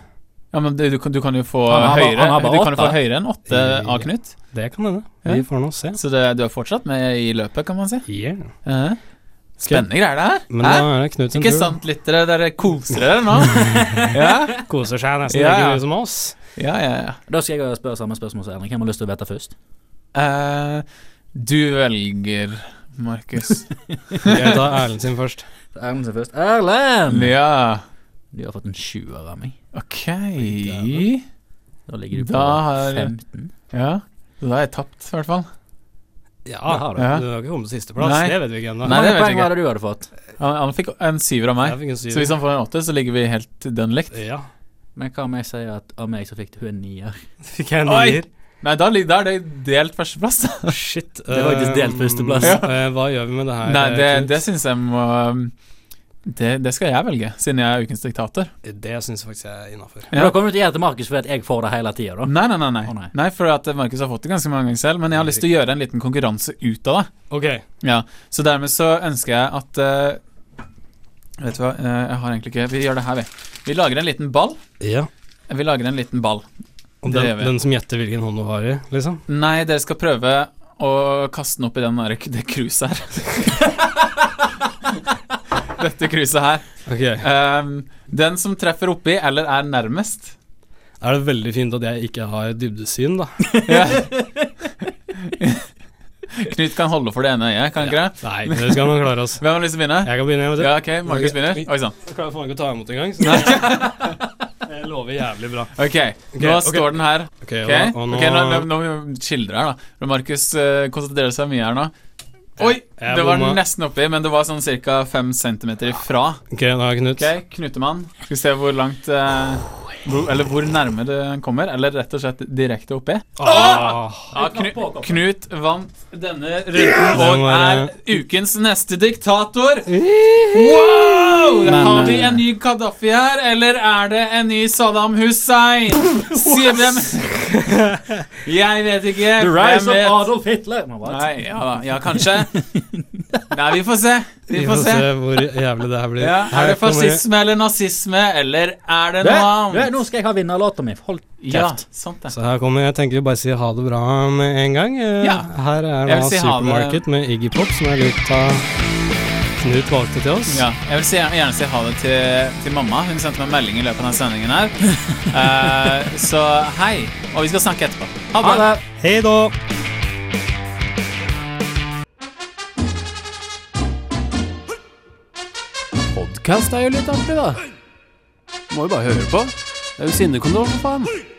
[SPEAKER 4] ja, men du, du, kan, du kan jo få
[SPEAKER 3] Han har bare-
[SPEAKER 4] høyere
[SPEAKER 3] han har bare
[SPEAKER 4] Du kan jo få
[SPEAKER 3] åtte.
[SPEAKER 4] høyere enn åtte
[SPEAKER 2] Ja.
[SPEAKER 4] av Knut.
[SPEAKER 2] Det kan hende.
[SPEAKER 4] Ja.
[SPEAKER 2] Vi får nå se.
[SPEAKER 4] Så det, du er fortsatt med i løpet, kan man si.
[SPEAKER 2] Yeah.
[SPEAKER 4] Ja. Spennende greier, det her.
[SPEAKER 2] Men
[SPEAKER 4] Hæ?
[SPEAKER 2] da er det Knut sin
[SPEAKER 4] Ikke
[SPEAKER 2] tur.
[SPEAKER 4] sant, lyttere? Dere koser dere nå? ja.
[SPEAKER 2] Koser seg nesten
[SPEAKER 4] Ja,
[SPEAKER 2] like
[SPEAKER 4] ja.
[SPEAKER 2] mye som oss.
[SPEAKER 4] ja, ja, ja.
[SPEAKER 3] Da skal jeg spørre samme spørsmål som Erling. Hvem har lyst til å vite først?
[SPEAKER 4] Eh, du velger, Markus.
[SPEAKER 2] Jeg tar Erlend sin først.
[SPEAKER 3] Erlend sin først. Erlend!
[SPEAKER 4] ja,
[SPEAKER 3] Du har fått en sjuer av meg.
[SPEAKER 4] ok.
[SPEAKER 3] Da ligger du på
[SPEAKER 4] Da har-
[SPEAKER 3] 15.
[SPEAKER 4] Ja, da er jeg tapt, i hvert fall.
[SPEAKER 2] Ja,
[SPEAKER 3] Det har
[SPEAKER 2] du
[SPEAKER 4] du. Ja.
[SPEAKER 2] har ikke kommet på sisteplass.
[SPEAKER 4] Nei.
[SPEAKER 2] Det vet vi ikke ennå.
[SPEAKER 3] Hvor
[SPEAKER 4] Nei, det
[SPEAKER 3] mange
[SPEAKER 4] vet jeg
[SPEAKER 3] poeng
[SPEAKER 4] ikke.
[SPEAKER 3] var det du hadde fått?
[SPEAKER 4] Han, han fikk en syver av meg.
[SPEAKER 2] Jeg fikk en
[SPEAKER 4] Så hvis
[SPEAKER 2] syver.
[SPEAKER 4] han får en åtte, så ligger vi helt dønn likt.
[SPEAKER 2] Ja.
[SPEAKER 3] Men hva om jeg sier at av meg så fikk du en nier?
[SPEAKER 2] Fikk jeg en
[SPEAKER 4] Oi!
[SPEAKER 2] nier.
[SPEAKER 4] Nei, da, lig- da er det delt førsteplass. da.
[SPEAKER 2] Shit.
[SPEAKER 3] Det var faktisk delt
[SPEAKER 2] eh,
[SPEAKER 3] førsteplass.
[SPEAKER 2] ja. eh, Hva gjør vi med det her?
[SPEAKER 4] Nei, det,
[SPEAKER 2] eh, Knut?
[SPEAKER 4] det syns jeg må um, det, det skal jeg velge, siden jeg er ukens diktator.
[SPEAKER 2] Det syns jeg faktisk jeg er innafor.
[SPEAKER 4] Ja.
[SPEAKER 3] Men Da kommer du til å gjøre det til Markus fordi at jeg får det hele tida, da.
[SPEAKER 4] Nei, nei, nei. nei.
[SPEAKER 3] Å, nei.
[SPEAKER 4] nei for at Markus har fått det ganske mange ganger selv, men jeg har lyst til å gjøre en liten konkurranse ut av det.
[SPEAKER 2] Ok.
[SPEAKER 4] Ja, så dermed så ønsker jeg at eh, Vet du hva, eh, jeg har egentlig ikke Vi gjør det her, vi. Vi lager en liten ball.
[SPEAKER 2] Ja.
[SPEAKER 4] Vi lager en liten ball.
[SPEAKER 2] Og
[SPEAKER 4] Det gjør
[SPEAKER 2] den,
[SPEAKER 4] vi.
[SPEAKER 2] den som gjetter hvilken hånd du har i, liksom?
[SPEAKER 4] Nei, dere skal prøve å kaste den opp i den der, det kruset her. Dette kruset her.
[SPEAKER 2] Ok.
[SPEAKER 4] Ehm, den som treffer oppi, eller er nærmest,
[SPEAKER 2] er det veldig fint at jeg ikke har dybdesyn, da.
[SPEAKER 4] Ja. Knut kan holde for det ene øyet, kan han ikke det?
[SPEAKER 2] Nei, det skal man klare, altså.
[SPEAKER 4] Hvem har lyst til å begynne?
[SPEAKER 2] Jeg kan begynne, jeg, vet du.
[SPEAKER 4] Ja, ok, Markus begynner. Oi sånn. sann.
[SPEAKER 2] Jeg klarer faen ikke å ta imot engang. så Jeg lover jævlig bra.
[SPEAKER 4] Ok, nå
[SPEAKER 2] ok.
[SPEAKER 4] står den her.
[SPEAKER 2] Ok,
[SPEAKER 4] Ok,
[SPEAKER 2] og, og nå,
[SPEAKER 4] ok, nå, nå, nå må vi skildre her, da. Men Markus eh, konsentrerer seg mye her nå. Oi!
[SPEAKER 2] jeg
[SPEAKER 4] Det var
[SPEAKER 2] bomma.
[SPEAKER 4] nesten oppi, men det var sånn ca. 5 cm ifra.
[SPEAKER 2] Ok, nå er Knut.
[SPEAKER 4] Ok, Knutemann. Skal vi se hvor langt eh, hvor, Eller hvor nærme du kommer. Eller rett og slett direkte oppi.
[SPEAKER 2] Ah,
[SPEAKER 4] Ja, Knu, Knut vant denne runden
[SPEAKER 2] Det
[SPEAKER 4] og
[SPEAKER 2] må
[SPEAKER 4] er
[SPEAKER 2] være-
[SPEAKER 4] ukens neste diktator. Wow! Har vi en ny Gaddafi her, eller er det en ny Saddam Hussein? Si hvem Jeg vet ikke.
[SPEAKER 3] The
[SPEAKER 4] Hvem
[SPEAKER 3] rise of
[SPEAKER 4] vet?
[SPEAKER 3] Adolf Hitler. Nå, hva?
[SPEAKER 4] Nei, ja, da. ja, kanskje. Nei, vi får se. Vi får se.
[SPEAKER 2] hvor jævlig det her blir.
[SPEAKER 4] Ja, er
[SPEAKER 2] Her
[SPEAKER 4] det
[SPEAKER 2] kommer-
[SPEAKER 4] fascisme eller nazisme, eller er det
[SPEAKER 3] Du,
[SPEAKER 4] noe
[SPEAKER 3] du,
[SPEAKER 4] annet?
[SPEAKER 3] nå skal jeg ha vinnerlåta mi. Hold
[SPEAKER 4] Ja,
[SPEAKER 3] kjeft.
[SPEAKER 4] sant det.
[SPEAKER 2] Så her kommer jeg tenker vi bare sier ha det bra med en gang. Eh,
[SPEAKER 4] Ja.
[SPEAKER 2] Her er da
[SPEAKER 4] Jeg vil si ha det.
[SPEAKER 2] Supermarket med Iggy Pop, som er litt av Knut valgte til oss.
[SPEAKER 4] Ja, jeg vil si, gjerne si ha det til, til mamma. Hun sendte meg en melding i løpet av denne sendingen her. Eh, så hei. Og vi skal snakke etterpå. Ha det.
[SPEAKER 3] Ha det.
[SPEAKER 2] Hei da!
[SPEAKER 5] Podkast er jo litt artig, da. Må jo bare høre på. Det er jo sinnekondom, for faen.